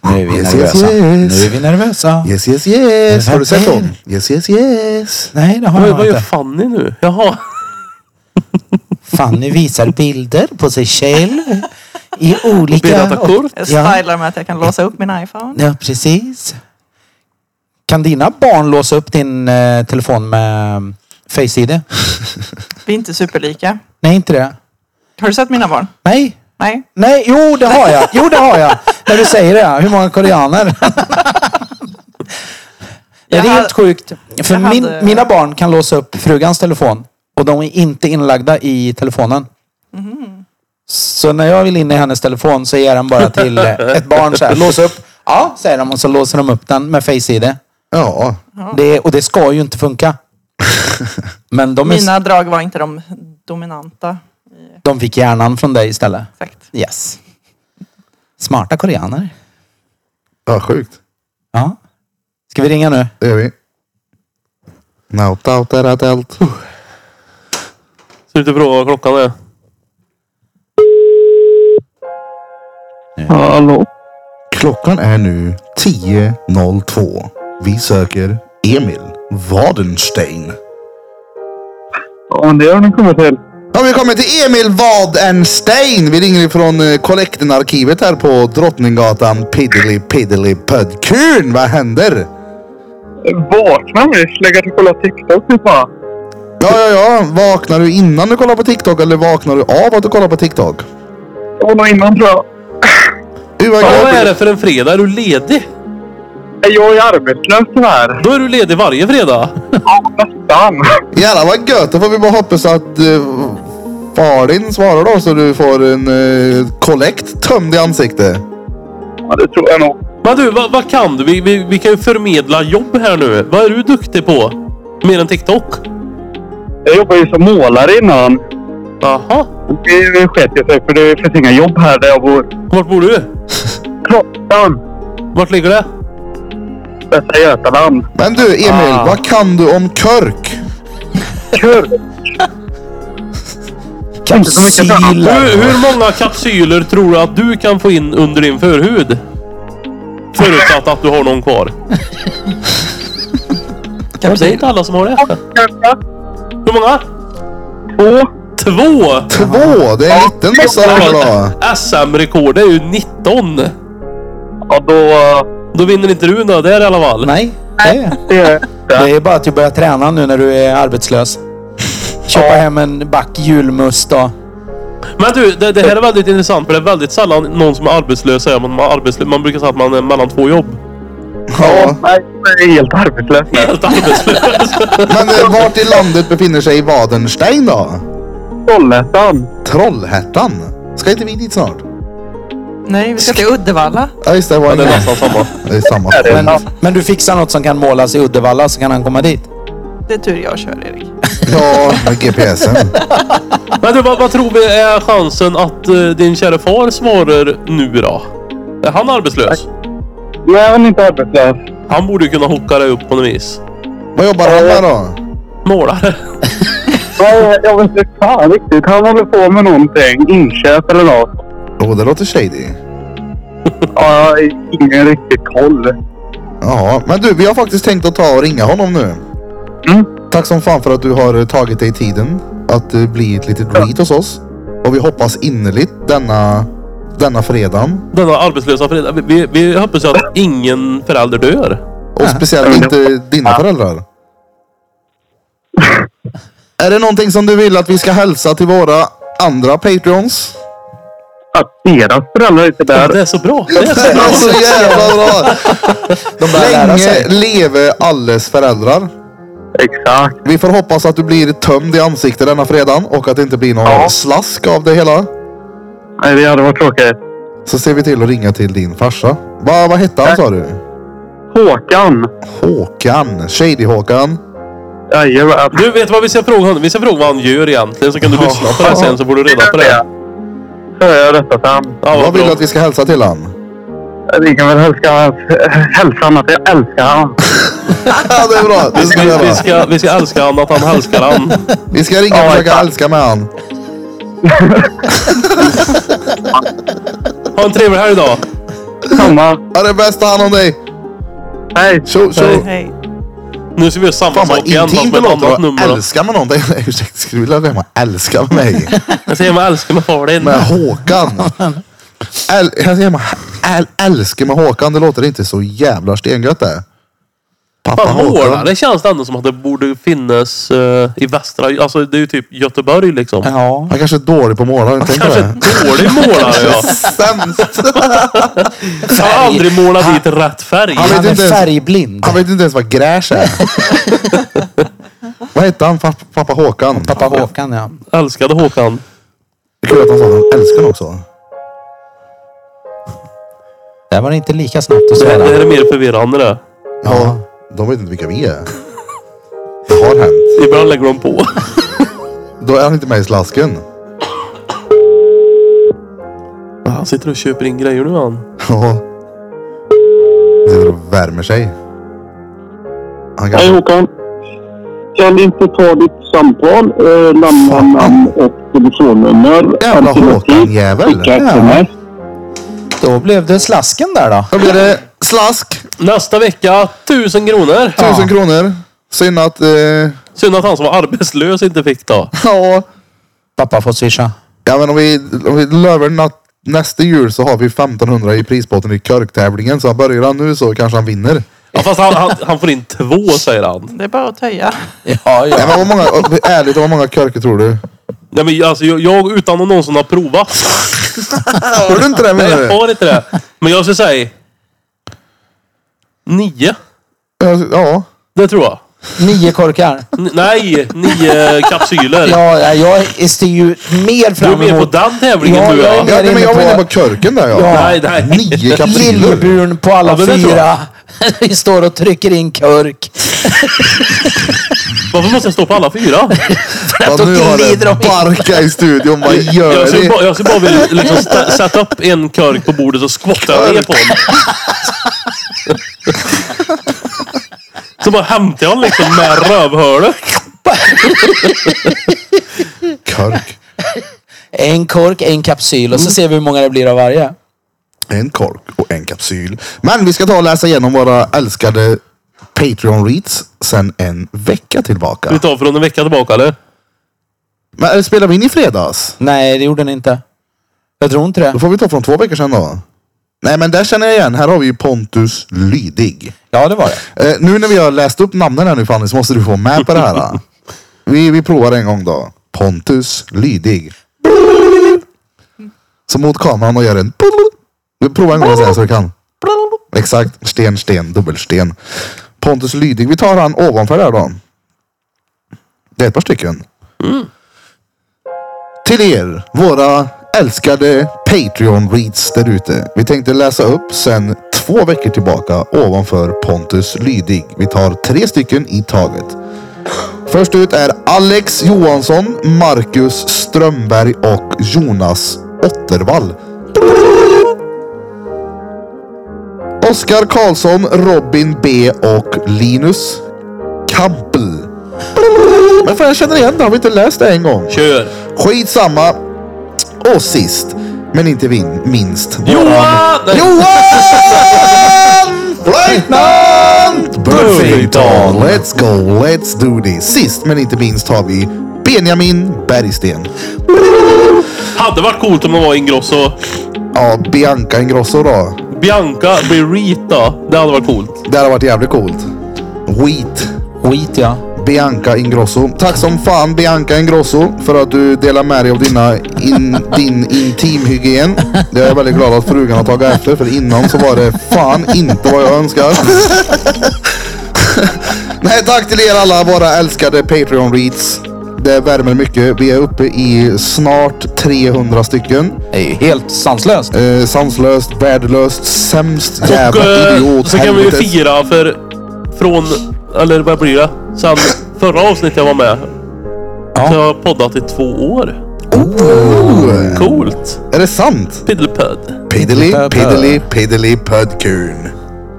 [SPEAKER 2] Nu är vi
[SPEAKER 1] Yes, yes,
[SPEAKER 2] nervösa.
[SPEAKER 1] yes.
[SPEAKER 2] Nu är vi nervösa.
[SPEAKER 1] Yes, yes, yes.
[SPEAKER 2] Men
[SPEAKER 1] Har du sett
[SPEAKER 2] vänta.
[SPEAKER 1] dem? Yes, yes, yes.
[SPEAKER 2] Nej, det har
[SPEAKER 3] Vad,
[SPEAKER 2] jag
[SPEAKER 3] vad gör
[SPEAKER 2] inte.
[SPEAKER 3] Fanny nu? Jaha.
[SPEAKER 2] Fanny visar bilder på sig själv i
[SPEAKER 3] Berätta
[SPEAKER 2] olika...
[SPEAKER 3] kort.
[SPEAKER 4] Jag
[SPEAKER 2] Ja.
[SPEAKER 4] stylar med att jag kan låsa upp min iPhone.
[SPEAKER 2] Ja, precis. Kan dina barn låsa upp din eh, telefon med mm, Face ID?
[SPEAKER 4] Vi är inte superlika.
[SPEAKER 2] Nej, inte det.
[SPEAKER 4] Har du sett mina barn?
[SPEAKER 2] Nej.
[SPEAKER 4] Nej.
[SPEAKER 2] Nej, jo det har jag. Jo det har jag. När du säger det. ja. Hur många koreaner? Det är
[SPEAKER 4] Jag
[SPEAKER 2] helt
[SPEAKER 4] hade-
[SPEAKER 2] sjukt. För
[SPEAKER 4] jag
[SPEAKER 2] min,
[SPEAKER 4] hade-
[SPEAKER 2] mina barn kan låsa upp frugans telefon. Och de är inte inlagda i telefonen. Så när jag vill in i hennes telefon så ger den bara till eh, ett barn så här. Lås upp. Ja, säger de och så låser de upp den med face ID.
[SPEAKER 1] Ja.
[SPEAKER 2] Det, och det ska ju inte funka. Men de, är,
[SPEAKER 4] Mina drag var inte de dominanta.
[SPEAKER 2] de fick hjärnan från dig istället.
[SPEAKER 4] Exakt.
[SPEAKER 2] Yes. Smarta koreaner.
[SPEAKER 1] Ja, sjukt.
[SPEAKER 2] Ja. Ska vi ringa nu?
[SPEAKER 1] Det gör vi. Naut out där att allt.
[SPEAKER 3] Ska du inte fråga vad klockan är?
[SPEAKER 6] Hallå?
[SPEAKER 1] Klockan är nu 10.02. Vi söker Emil Wadenstein.
[SPEAKER 6] Ja, men det har ni kommit till.
[SPEAKER 1] Ja, vi kommer till Emil Wadenstein. Vi ringer ifrån eh, kollektenarkivet här på Drottninggatan. Piddly piddly pödkun. Vad händer?
[SPEAKER 6] Vakna nyss, lägga till och kolla TikTok fy fan.
[SPEAKER 1] Ja, ja, ja. Vaknar du innan du kollar på TikTok eller vaknar du av att du kollar på TikTok?
[SPEAKER 6] Det var nog innan tror jag.
[SPEAKER 1] Du, vad
[SPEAKER 3] Ja,
[SPEAKER 1] glad-
[SPEAKER 3] vad är det för en fredag? Är du ledig?
[SPEAKER 6] Är Jag är arbetslös tyvärr.
[SPEAKER 3] Då är du ledig varje fredag.
[SPEAKER 6] Ja, nästan.
[SPEAKER 1] Jävlar vad gött. Då får vi bara hoppas att uh, far din svarar då så du får en eh, kollekt tömd i ansiktet.
[SPEAKER 6] Ja, det tror jag nog.
[SPEAKER 3] Men du, vad, vad kan du? Vi, vi, vi kan ju förmedla jobb här nu. Vad är du duktig på? Mer än TikTok?
[SPEAKER 6] Jag jobbade ju som målare innan.
[SPEAKER 3] Jaha.
[SPEAKER 6] Det sket ju sig för det finns inga jobb här där jag bor.
[SPEAKER 3] Vart bor du?
[SPEAKER 6] Klockan!
[SPEAKER 3] Vart ligger det?
[SPEAKER 6] Västra Götaland.
[SPEAKER 1] Men du Emil,
[SPEAKER 3] Ah.
[SPEAKER 1] vad kan du om Körk?
[SPEAKER 6] Kul!
[SPEAKER 3] Hur,
[SPEAKER 2] Kapsyler.
[SPEAKER 3] hur många kapsyler tror du att du kan få in under din förhud? Förutsatt att du har någon kvar. Ja, det är inte alla som har det.
[SPEAKER 6] Kanske
[SPEAKER 3] Hur många?
[SPEAKER 6] två.
[SPEAKER 3] Två!
[SPEAKER 1] Två, det är en liten massa där då.
[SPEAKER 3] SM-rekord det är ju 19.
[SPEAKER 6] Ja, då...
[SPEAKER 3] Då vinner inte du något där i alla fall.
[SPEAKER 2] Nej, det är,
[SPEAKER 6] Det är
[SPEAKER 2] det är bara att du börjar träna nu när du är arbetslös. Köpa hem en back julmust och...
[SPEAKER 3] Men du, det, det här är väldigt intressant för det är väldigt sällan någon som är arbetslös säger att man är arbetslös. Man brukar säga att man är mellan två jobb.
[SPEAKER 1] Ja.
[SPEAKER 6] Nej, jag är helt arbetslös nu.
[SPEAKER 3] Helt arbetslös.
[SPEAKER 1] Men eh, vart i landet befinner sig Wadenstein då?
[SPEAKER 6] Trollhättan.
[SPEAKER 1] Trollhättan? Ska inte vi dit snart?
[SPEAKER 4] Nej, vi ska till Uddevalla.
[SPEAKER 1] Ja just det, var
[SPEAKER 3] det är
[SPEAKER 1] en-
[SPEAKER 3] nästan samma.
[SPEAKER 1] Det är samma.
[SPEAKER 6] Är det?
[SPEAKER 2] Men, men du fixar något som kan målas i Uddevalla så kan han komma dit.
[SPEAKER 4] Det är tur jag kör, Erik.
[SPEAKER 1] Ja, med GPSen.
[SPEAKER 3] Men du, vad, vad tror vi är chansen att eh, din kära far svarar nu då? Är han arbetslös?
[SPEAKER 6] Nej, han är inte arbetslös.
[SPEAKER 3] Han borde ju kunna hocka dig upp på något vis.
[SPEAKER 1] Vad jobbar han med då?
[SPEAKER 3] Målare.
[SPEAKER 6] Nej, jag vet inte fan riktigt. Han håller på med någonting. Inköp eller något.
[SPEAKER 1] Jo, det låter shady.
[SPEAKER 6] Ja, jag har ingen riktig koll.
[SPEAKER 1] Ja, men du, vi har faktiskt tänkt att ta och ringa honom nu.
[SPEAKER 6] Mm.
[SPEAKER 1] Tack som fan för att du har eh, tagit dig tiden att eh, bli ett litet read hos oss. Och vi hoppas innerligt denna, denna fredag.
[SPEAKER 3] Denna arbetslösa fredag. Vi, vi, vi hoppas ju att ingen förälder dör.
[SPEAKER 1] Och speciellt inte dina föräldrar. Är det någonting som du vill att vi ska hälsa till våra andra Patreons?
[SPEAKER 6] Att deras föräldrar inte är
[SPEAKER 3] Ja,
[SPEAKER 6] där.
[SPEAKER 3] Det är så bra. Det är så
[SPEAKER 1] Det
[SPEAKER 3] bra.
[SPEAKER 1] var så jävla bra!
[SPEAKER 2] De börjar lära
[SPEAKER 1] Länge
[SPEAKER 2] sig.
[SPEAKER 1] leve alles föräldrar.
[SPEAKER 6] Exakt.
[SPEAKER 1] Vi får hoppas att du blir tömd i ansiktet denna fredag och att det inte blir någon
[SPEAKER 6] Ja.
[SPEAKER 1] slask av det hela.
[SPEAKER 6] Nej, det hade varit tråkigt.
[SPEAKER 1] Så ser vi till att ringa till din farsa. Va, vad hette han sa du?
[SPEAKER 6] Håkan.
[SPEAKER 1] Håkan. Shady Håkan.
[SPEAKER 6] Jajamän.
[SPEAKER 3] Du vet vad vi ska fråga honom? Vi ska fråga vad han gör egentligen så kan du lyssna på det sen så får du reda på det.
[SPEAKER 6] Så gör jag detta sen.
[SPEAKER 3] Ja,
[SPEAKER 1] Vad
[SPEAKER 3] vad
[SPEAKER 1] vill du
[SPEAKER 3] bra.
[SPEAKER 1] att vi ska hälsa till han?
[SPEAKER 6] Vi kan väl hälsa, hälsa honom att jag älskar honom.
[SPEAKER 1] Ja, det är bra. Det ska vi
[SPEAKER 3] Vi, vi,
[SPEAKER 1] göra.
[SPEAKER 3] ska, vi ska älska han att han älskar han.
[SPEAKER 1] Vi ska ringa och
[SPEAKER 6] Ja,
[SPEAKER 1] försöka
[SPEAKER 6] exakt.
[SPEAKER 1] älska med han.
[SPEAKER 3] Ha en trevlig helg då.
[SPEAKER 6] Samma.
[SPEAKER 1] Ha det bästa hand om dig.
[SPEAKER 6] Hej.
[SPEAKER 1] Tjo, tjo.
[SPEAKER 4] Hej.
[SPEAKER 3] Nu ska vi göra samma
[SPEAKER 1] Fan
[SPEAKER 3] sak
[SPEAKER 1] vad
[SPEAKER 3] igen fast
[SPEAKER 1] intimt
[SPEAKER 3] med
[SPEAKER 1] det
[SPEAKER 3] ett annat
[SPEAKER 1] låter.
[SPEAKER 3] nummer.
[SPEAKER 1] att
[SPEAKER 3] då.
[SPEAKER 1] Älska med någon. Nej, Ursäkta, skulle du vilja vem man älskar med mig?
[SPEAKER 3] Jag säger man älskar med Falin.
[SPEAKER 1] Med Håkan. Äl, jag säger, man äl, älskar med Håkan. Det låter inte så jävla stengött det. Pappa
[SPEAKER 3] Fan,
[SPEAKER 1] Håkan.
[SPEAKER 3] målare känns det ändå som att det borde finnas eh, i västra... Alltså det är ju typ Göteborg liksom.
[SPEAKER 2] Ja.
[SPEAKER 1] Han kanske är dålig på målare. Tänk på
[SPEAKER 3] Kanske
[SPEAKER 1] det.
[SPEAKER 3] en dålig målare ja.
[SPEAKER 1] Sämst.
[SPEAKER 3] Han har aldrig målat dit rätt färg.
[SPEAKER 1] Han vet
[SPEAKER 2] Han är
[SPEAKER 1] inte ens-
[SPEAKER 2] färgblind.
[SPEAKER 1] Han vet inte ens vad gräs är. vad hette han? Fa- Pappa Håkan.
[SPEAKER 2] Pappa Håkan ja.
[SPEAKER 3] Älskade Håkan.
[SPEAKER 1] Det är kul att han sa att han älskar honom också.
[SPEAKER 2] Där var det inte lika snabbt att
[SPEAKER 3] Det här, det här
[SPEAKER 2] svara.
[SPEAKER 3] är mer förvirrande det.
[SPEAKER 1] Ja. De vet inte vilka vi är. Det har hänt.
[SPEAKER 3] Ibland lägger de på.
[SPEAKER 1] Då är han inte med i slasken.
[SPEAKER 3] Han sitter och köper in grejer nu han.
[SPEAKER 1] Ja. Sitter och värmer sig. Han
[SPEAKER 6] Hej
[SPEAKER 1] kanske...
[SPEAKER 6] Håkan. Kan inte ta ditt samtal, eh, lämna
[SPEAKER 1] Fan.
[SPEAKER 6] namn och telefonnummer.
[SPEAKER 1] Jävla
[SPEAKER 6] Alternativt
[SPEAKER 1] Håkan-jävel.
[SPEAKER 6] skicka
[SPEAKER 1] Ja.
[SPEAKER 6] sms.
[SPEAKER 2] Då blev det slasken där då.
[SPEAKER 1] Då blir det slask.
[SPEAKER 3] Nästa vecka, tusen kronor.
[SPEAKER 1] Tusen kronor. Synd att... Eh,
[SPEAKER 3] Synd att han som var arbetslös inte fick då.
[SPEAKER 1] ja.
[SPEAKER 2] Pappa får swisha.
[SPEAKER 1] ja men om vi, om vi löver natt, nästa jul så har vi 1500 i prisbotten i körktävlingen. Så börjar han nu så kanske han vinner.
[SPEAKER 3] Ja, fast han, han, han får in två säger han.
[SPEAKER 4] Det är bara att töja.
[SPEAKER 2] Ja,
[SPEAKER 1] Nej, men vad många, ärligt, vad många körker tror du?
[SPEAKER 3] Nej men alltså jag, jag utan att någonsin ha provat.
[SPEAKER 1] Tror du inte det
[SPEAKER 3] Nej
[SPEAKER 1] menar
[SPEAKER 3] jag
[SPEAKER 1] du?
[SPEAKER 3] har inte det. Men jag skulle säga nio.
[SPEAKER 1] Ja.
[SPEAKER 3] Det tror jag.
[SPEAKER 2] Nio korkar.
[SPEAKER 3] N- nej, nio kapsyler.
[SPEAKER 2] Ja, nej, jag styr ju mer
[SPEAKER 3] Du är
[SPEAKER 2] fram
[SPEAKER 3] med på
[SPEAKER 2] emot
[SPEAKER 3] den tävlingen
[SPEAKER 2] Ja,
[SPEAKER 3] nu
[SPEAKER 2] jag
[SPEAKER 3] ja.
[SPEAKER 2] är-
[SPEAKER 1] ja nej, men jag var
[SPEAKER 2] inne på-
[SPEAKER 1] inne på körken där ja.
[SPEAKER 2] Ja.
[SPEAKER 3] Nej, nej.
[SPEAKER 1] Nio kapsyler.
[SPEAKER 2] lillebjörn på alla
[SPEAKER 3] Ja, men det tror jag.
[SPEAKER 2] fyra. Vi står och trycker in kork.
[SPEAKER 3] Varför måste jag stå på alla fyra?
[SPEAKER 1] Ja,
[SPEAKER 2] Då
[SPEAKER 1] nu har
[SPEAKER 2] glider de
[SPEAKER 1] det
[SPEAKER 2] in.
[SPEAKER 1] barka i studion. Vad gör
[SPEAKER 3] Jag skulle
[SPEAKER 1] ni?
[SPEAKER 3] bara, jag skulle bara vilja liksom sta- sätta upp en körk på bordet och skvatta jag ner på honom. Så bara hämtar jag honom liksom med rövhålet.
[SPEAKER 1] Körk.
[SPEAKER 2] En kork, en kapsyl och så ser vi hur många det blir av varje.
[SPEAKER 1] En kork och en kapsyl. Men vi ska ta och läsa igenom våra älskade Patreon-reads sen en vecka
[SPEAKER 3] Vi
[SPEAKER 1] tillbaka.
[SPEAKER 3] tar från en vecka tillbaka eller?
[SPEAKER 1] Men eller spelar vi in i fredags?
[SPEAKER 2] Nej, det gjorde den inte. Jag tror inte
[SPEAKER 1] Då
[SPEAKER 2] det.
[SPEAKER 1] får vi ta från två veckor sedan då. Nej men där känner jag igen. Här har vi ju Pontus Lydig.
[SPEAKER 2] Ja, det var det.
[SPEAKER 1] Eh, nu när vi har läst upp namnen här nu Fanny så måste du få med på det här. då. Vi, vi provar en gång då. Pontus Lydig. Så mot kameran och gör en... Vi provar en gång så här så du kan. Exakt. Sten, sten, dubbelsten. Pontus Lydig. Vi tar han ovanför där då. Det är ett par stycken. Till er, våra älskade Patreon-reads där ute. Vi tänkte läsa upp sen två veckor tillbaka ovanför Pontus Lydig. Vi tar tre stycken i taget. Först ut är Alex Johansson, Marcus Strömberg och Jonas Ottervall. Oskar Karlsson, Robin B och Linus Kampel. Men fan jag känner igen det, har vi inte läst det en gång?
[SPEAKER 3] Kör!
[SPEAKER 1] Skitsamma. Och sist, men inte vin, minst. våran-
[SPEAKER 3] Johan! Nej.
[SPEAKER 1] Johan! Flöjtnant!
[SPEAKER 3] Burfington.
[SPEAKER 1] Let's go, let's do this. Sist men inte minst har vi Benjamin Bergsten.
[SPEAKER 3] Hade varit coolt om det var Ingrosso.
[SPEAKER 1] Ja, Bianca Ingrosso då.
[SPEAKER 3] Bianca blir Rita. Det hade varit coolt.
[SPEAKER 1] Det hade varit jävligt coolt. Wheat.
[SPEAKER 2] Skit ja.
[SPEAKER 1] Bianca Ingrosso. Tack som fan Bianca Ingrosso för att du delar med dig av dina in, din intimhygien. Det är jag väldigt glad att frugan har tagit efter för innan så var det fan inte vad jag önskar. Nej, tack till er alla våra älskade Patreon reads. Det värmer mycket. Vi är uppe i snart 300 stycken.
[SPEAKER 2] Det är ju helt sanslöst.
[SPEAKER 1] Eh, sanslöst, värdelöst, sämst jävla
[SPEAKER 3] eh,
[SPEAKER 1] idiot.
[SPEAKER 3] så kan vi ju
[SPEAKER 1] helvetes.
[SPEAKER 3] fira för... Från... Eller vad blir det? Sen... förra avsnittet jag var med.
[SPEAKER 2] Ja.
[SPEAKER 3] Så jag har poddat i två år.
[SPEAKER 1] Oh,
[SPEAKER 3] Coolt!
[SPEAKER 1] är det sant?
[SPEAKER 3] Piddelpöd.
[SPEAKER 1] Piddly,
[SPEAKER 2] Pö, pö.
[SPEAKER 1] piddly, piddly pödkun.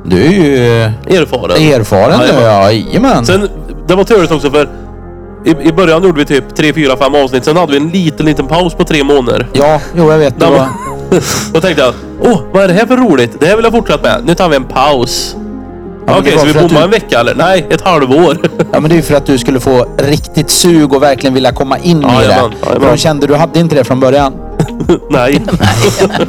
[SPEAKER 2] Du är ju
[SPEAKER 3] Erfaren.
[SPEAKER 2] eh, erfaren nu.
[SPEAKER 3] Jajamän.
[SPEAKER 2] Ja, jajamän.
[SPEAKER 3] Sen, det var turligt också för i, i början gjorde vi typ tre, fyra, fem avsnitt. Sen hade vi en liten, liten paus på tre månader.
[SPEAKER 2] Ja, jo jag vet. Det
[SPEAKER 3] Där
[SPEAKER 2] var...
[SPEAKER 3] man- Då tänkte jag, åh, vad är det här för roligt? Det här vill jag fortsätta med. Nu tar vi en paus.
[SPEAKER 2] men det
[SPEAKER 3] Okej,
[SPEAKER 2] var
[SPEAKER 3] så vi
[SPEAKER 2] för att
[SPEAKER 3] bommar
[SPEAKER 2] du-
[SPEAKER 3] en vecka eller? Nej, ett halvår.
[SPEAKER 2] Ja, men det är ju för att du skulle få riktigt sug och verkligen vilja komma in
[SPEAKER 3] Ja,
[SPEAKER 2] i
[SPEAKER 3] jajamän,
[SPEAKER 2] det.
[SPEAKER 3] jajamän.
[SPEAKER 2] För de kände du hade inte det från början.
[SPEAKER 3] Nej.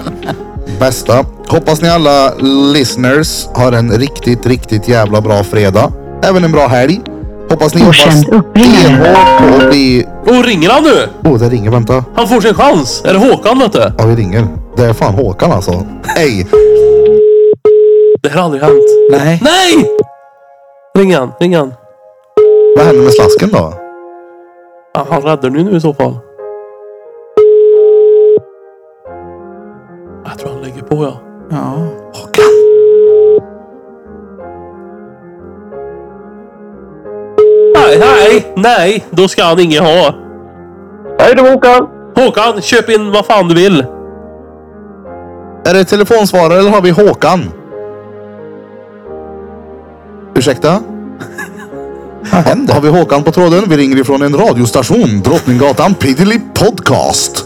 [SPEAKER 1] Bästa. Hoppas ni alla listeners har en riktigt, riktigt jävla bra fredag. Även en bra helg. Hoppas ni jobbar
[SPEAKER 7] Godkänd uppringning.
[SPEAKER 1] stenhårt på att bli...
[SPEAKER 3] Och ringer han nu?
[SPEAKER 1] Åh, det ringer. Vänta.
[SPEAKER 3] Han får sin chans. Är det Håkan vet du?
[SPEAKER 1] Ja, vi ringer. Det är fan Håkan alltså. Hej!
[SPEAKER 3] Det här har aldrig hänt.
[SPEAKER 2] Nej.
[SPEAKER 3] Nej! Ring han, ring han.
[SPEAKER 1] Vad händer med slasken då?
[SPEAKER 3] Ja, Han räddar nu nu i så fall. Jag tror han lägger på ja.
[SPEAKER 2] Ja.
[SPEAKER 3] Nej, nej, nej. Då ska han inget ha.
[SPEAKER 6] Hej då Håkan!
[SPEAKER 3] Håkan, köp in vad fan du vill.
[SPEAKER 1] Är det telefonsvarare eller har vi Håkan? Ursäkta?
[SPEAKER 2] Vad händer?
[SPEAKER 1] Har vi Håkan på tråden? Vi ringer ifrån en radiostation, Drottninggatan Piddly Podcast.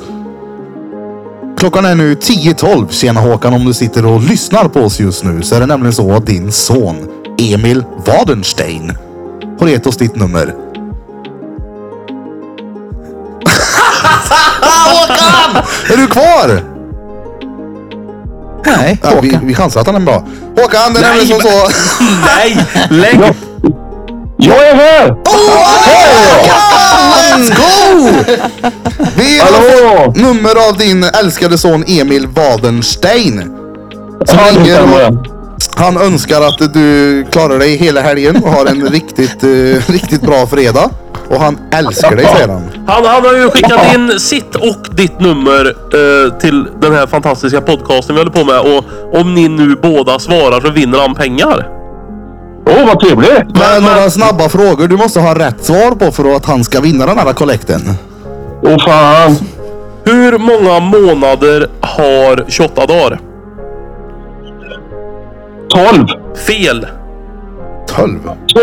[SPEAKER 1] Klockan är nu 10.12. Tjena Håkan om du sitter och lyssnar på oss just nu så är det nämligen så att din son Emil Wadenstein har gett oss ditt nummer. Håkan! Är du kvar?
[SPEAKER 2] Nej.
[SPEAKER 1] Ja, vi, vi chansar att han är bra. Håkan, det är nämligen som så...
[SPEAKER 3] Nej, lägg
[SPEAKER 6] Jag är här!
[SPEAKER 1] Let's go! Vi har
[SPEAKER 6] Hallå!
[SPEAKER 1] fått nummer av din älskade son Emil Wadenstein. Som
[SPEAKER 6] Ja, det
[SPEAKER 1] ringer
[SPEAKER 6] stämmer.
[SPEAKER 1] och han önskar att du klarar dig hela helgen och har en riktigt, eh, riktigt bra fredag. Och han älskar dig säger han.
[SPEAKER 3] Han, han har ju skickat in sitt och ditt nummer eh, till den här fantastiska podcasten vi håller på med. Och om ni nu båda svarar så vinner han pengar.
[SPEAKER 6] Åh, vad trevligt!
[SPEAKER 1] Men några snabba frågor du måste ha rätt svar på för att han ska vinna den här kollekten.
[SPEAKER 6] Åh fan!
[SPEAKER 3] Hur många månader har 28 dagar?
[SPEAKER 6] 12!
[SPEAKER 3] Fel!
[SPEAKER 1] 12.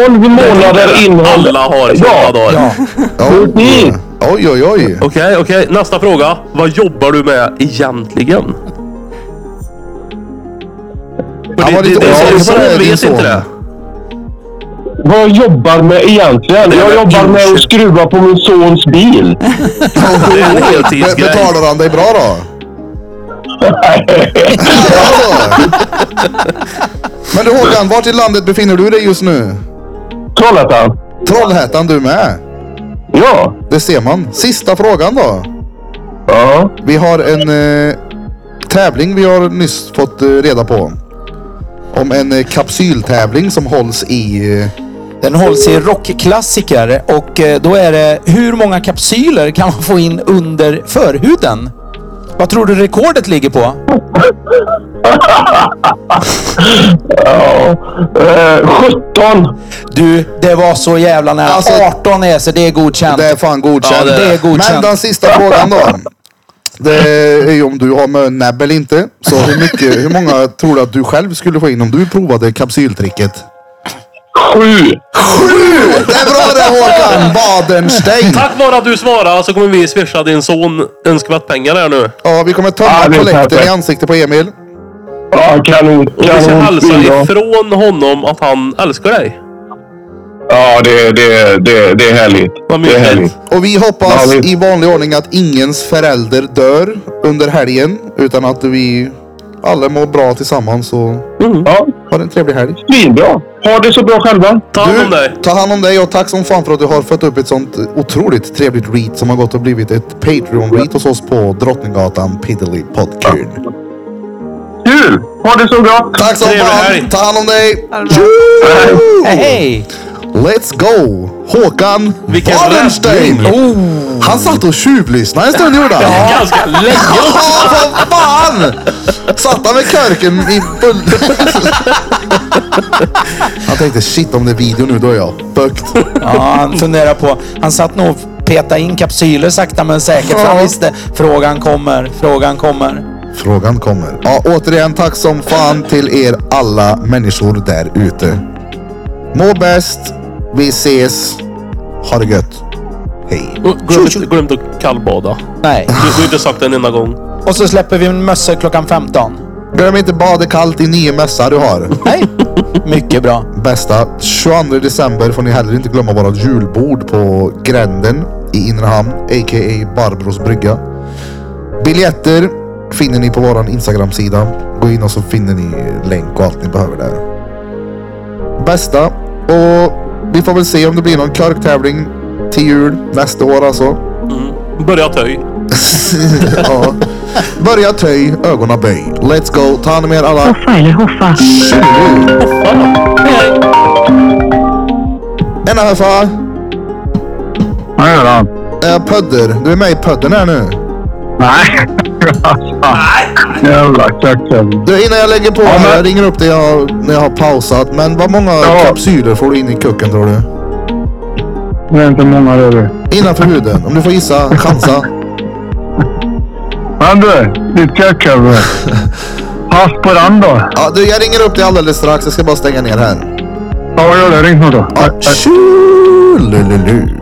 [SPEAKER 6] 12 månader innehåller...
[SPEAKER 3] Alla har 28
[SPEAKER 6] Ja,
[SPEAKER 3] dagar.
[SPEAKER 2] Ja.
[SPEAKER 1] Ja.
[SPEAKER 6] Precis.
[SPEAKER 1] Oj, oj, oj.
[SPEAKER 3] Okej, okej. Nästa fråga. Vad jobbar du med egentligen? För
[SPEAKER 1] Han
[SPEAKER 3] det,
[SPEAKER 1] var
[SPEAKER 3] det,
[SPEAKER 1] lite
[SPEAKER 3] det,
[SPEAKER 1] osäker på
[SPEAKER 3] det,
[SPEAKER 1] det,
[SPEAKER 3] son
[SPEAKER 1] din
[SPEAKER 3] vet
[SPEAKER 1] son.
[SPEAKER 3] inte det.
[SPEAKER 6] Vad jobbar med egentligen? Jag jobbar med att skruva på min sons bil.
[SPEAKER 3] Det är en
[SPEAKER 1] Be-
[SPEAKER 3] heltidsgrej.
[SPEAKER 1] betalar han dig bra då? Ja. Men du Håkan, vart i landet befinner du dig just nu?
[SPEAKER 6] Trollhättan.
[SPEAKER 1] Trollhättan du med.
[SPEAKER 6] Ja.
[SPEAKER 1] Det ser man. Sista frågan då.
[SPEAKER 6] Ja.
[SPEAKER 1] Vi har en eh, tävling vi har nyss fått eh, reda på. Om en eh, kapsyltävling som hålls i... Eh,
[SPEAKER 2] Den hålls i rockklassiker och eh, då är det hur många kapsyler kan man få in under förhuden? Vad tror du rekordet ligger på?
[SPEAKER 6] ja. Eh, 17.
[SPEAKER 2] Du, det var så jävla nära.
[SPEAKER 1] Alltså-
[SPEAKER 2] 18 är så det är godkänt.
[SPEAKER 1] det är fan godkänt.
[SPEAKER 2] Ja, det är godkänt.
[SPEAKER 1] Men den sista frågan då. Det är ju om du har mönnäbb eller inte. Så hur, mycket, hur många tror du att du själv skulle få in om du provade kapsyltricket?
[SPEAKER 6] 7.
[SPEAKER 1] Det är bra det Håkan! Badenstein!
[SPEAKER 3] Tack vare att du svarar så kommer vi swisha din son en skvätt pengar här nu.
[SPEAKER 1] Ja, vi kommer tömma
[SPEAKER 6] Ja, det är
[SPEAKER 1] kollekten i
[SPEAKER 6] perfekt.
[SPEAKER 1] ansiktet på Emil.
[SPEAKER 6] Ja, kanon.
[SPEAKER 3] Och vi ska
[SPEAKER 6] Kanon.
[SPEAKER 3] hälsa
[SPEAKER 6] Ja.
[SPEAKER 3] ifrån honom att han älskar dig.
[SPEAKER 6] Ja, det, det, det, det är härligt.
[SPEAKER 3] Vad
[SPEAKER 6] Det är härligt.
[SPEAKER 3] mysigt.
[SPEAKER 1] Och vi hoppas
[SPEAKER 6] Ja, vi-
[SPEAKER 1] i vanlig ordning att ingens förälder dör under helgen. Utan att vi alla mår bra tillsammans och
[SPEAKER 6] Ja,
[SPEAKER 1] har en trevlig helg.
[SPEAKER 6] svinbra. Ha det så bra själva.
[SPEAKER 3] Ta hand om dig.
[SPEAKER 1] ta hand om dig och tack som fan för att du har fött upp ett sånt otroligt trevligt read som har gått och blivit ett Patreon-read hos oss på Drottninggatan Piddly Podkun.
[SPEAKER 6] Kul! Ha det så bra.
[SPEAKER 1] Tack som
[SPEAKER 3] Trevlig
[SPEAKER 1] fan!
[SPEAKER 3] helg.
[SPEAKER 1] Ta hand om dig!
[SPEAKER 4] Ha det bra.
[SPEAKER 1] Tjo!
[SPEAKER 2] Hej!
[SPEAKER 1] Let's go! Håkan
[SPEAKER 3] Vilken
[SPEAKER 1] Wallenstein!
[SPEAKER 3] räddning!
[SPEAKER 1] Oh. Han satt och tjuvlyssnade en stund gjorde han.
[SPEAKER 3] Ganska länge.
[SPEAKER 1] Ja, vad fan! Satt han med körken i bull... Han tänkte shit om det är video nu då är jag bökt.
[SPEAKER 2] Ja, han funderar på... Han satt nog och petade in kapsyler sakta men säkert. För han
[SPEAKER 1] Ja.
[SPEAKER 2] visste, frågan kommer, frågan kommer.
[SPEAKER 1] Frågan kommer. Ja, återigen tack som fan till er alla människor där ute. Må bäst. Vi ses. Ha det gött. Hej.
[SPEAKER 3] Glöm inte- Glöm inte att kallbada.
[SPEAKER 2] Nej.
[SPEAKER 3] Du, du har inte sagt det en enda gång.
[SPEAKER 2] Och så släpper vi en mössa klockan 15.
[SPEAKER 1] Glöm inte bada kallt i nya mössa du har.
[SPEAKER 2] Nej. Mycket bra.
[SPEAKER 1] Bästa. 22 december får ni heller inte glömma våra julbord på Gränden i Inre Hamn, a.k.a. Barbros brygga. Biljetter finner ni på vår Instagram-sida. Gå in och så finner ni länk och allt ni behöver där. Bästa. Och vi får väl se om det blir någon körktävling till jul nästa år alltså.
[SPEAKER 3] Börja töj.
[SPEAKER 1] ja. Börja töj, ögonen böj. Let's go. Ta hand om er alla.
[SPEAKER 7] Hoffa eller hoffa.
[SPEAKER 1] Tjur. Tjena Huffa!
[SPEAKER 6] Vad gör han?
[SPEAKER 1] Äh, Pödder. Du är med i Pödden här nu.
[SPEAKER 6] Nej. Nej. Jävla kaxel.
[SPEAKER 1] Du, innan jag lägger på
[SPEAKER 6] Ja,
[SPEAKER 1] här,
[SPEAKER 6] men-
[SPEAKER 1] jag ringer upp dig jag, när jag har pausat. Men vad många
[SPEAKER 6] Ja.
[SPEAKER 1] kapsyler får du in i kucken tror du?
[SPEAKER 6] Det är inte många det du.
[SPEAKER 1] Innanför huden. Om du får gissa, chansa.
[SPEAKER 6] Men du, ditt kaxhuvud. Pass på den då.
[SPEAKER 1] Ja, du, jag ringer upp dig alldeles strax. Jag ska bara stänga ner här.
[SPEAKER 6] Ja, vad gör du? Ring nu då.
[SPEAKER 1] Ja, tjulululu.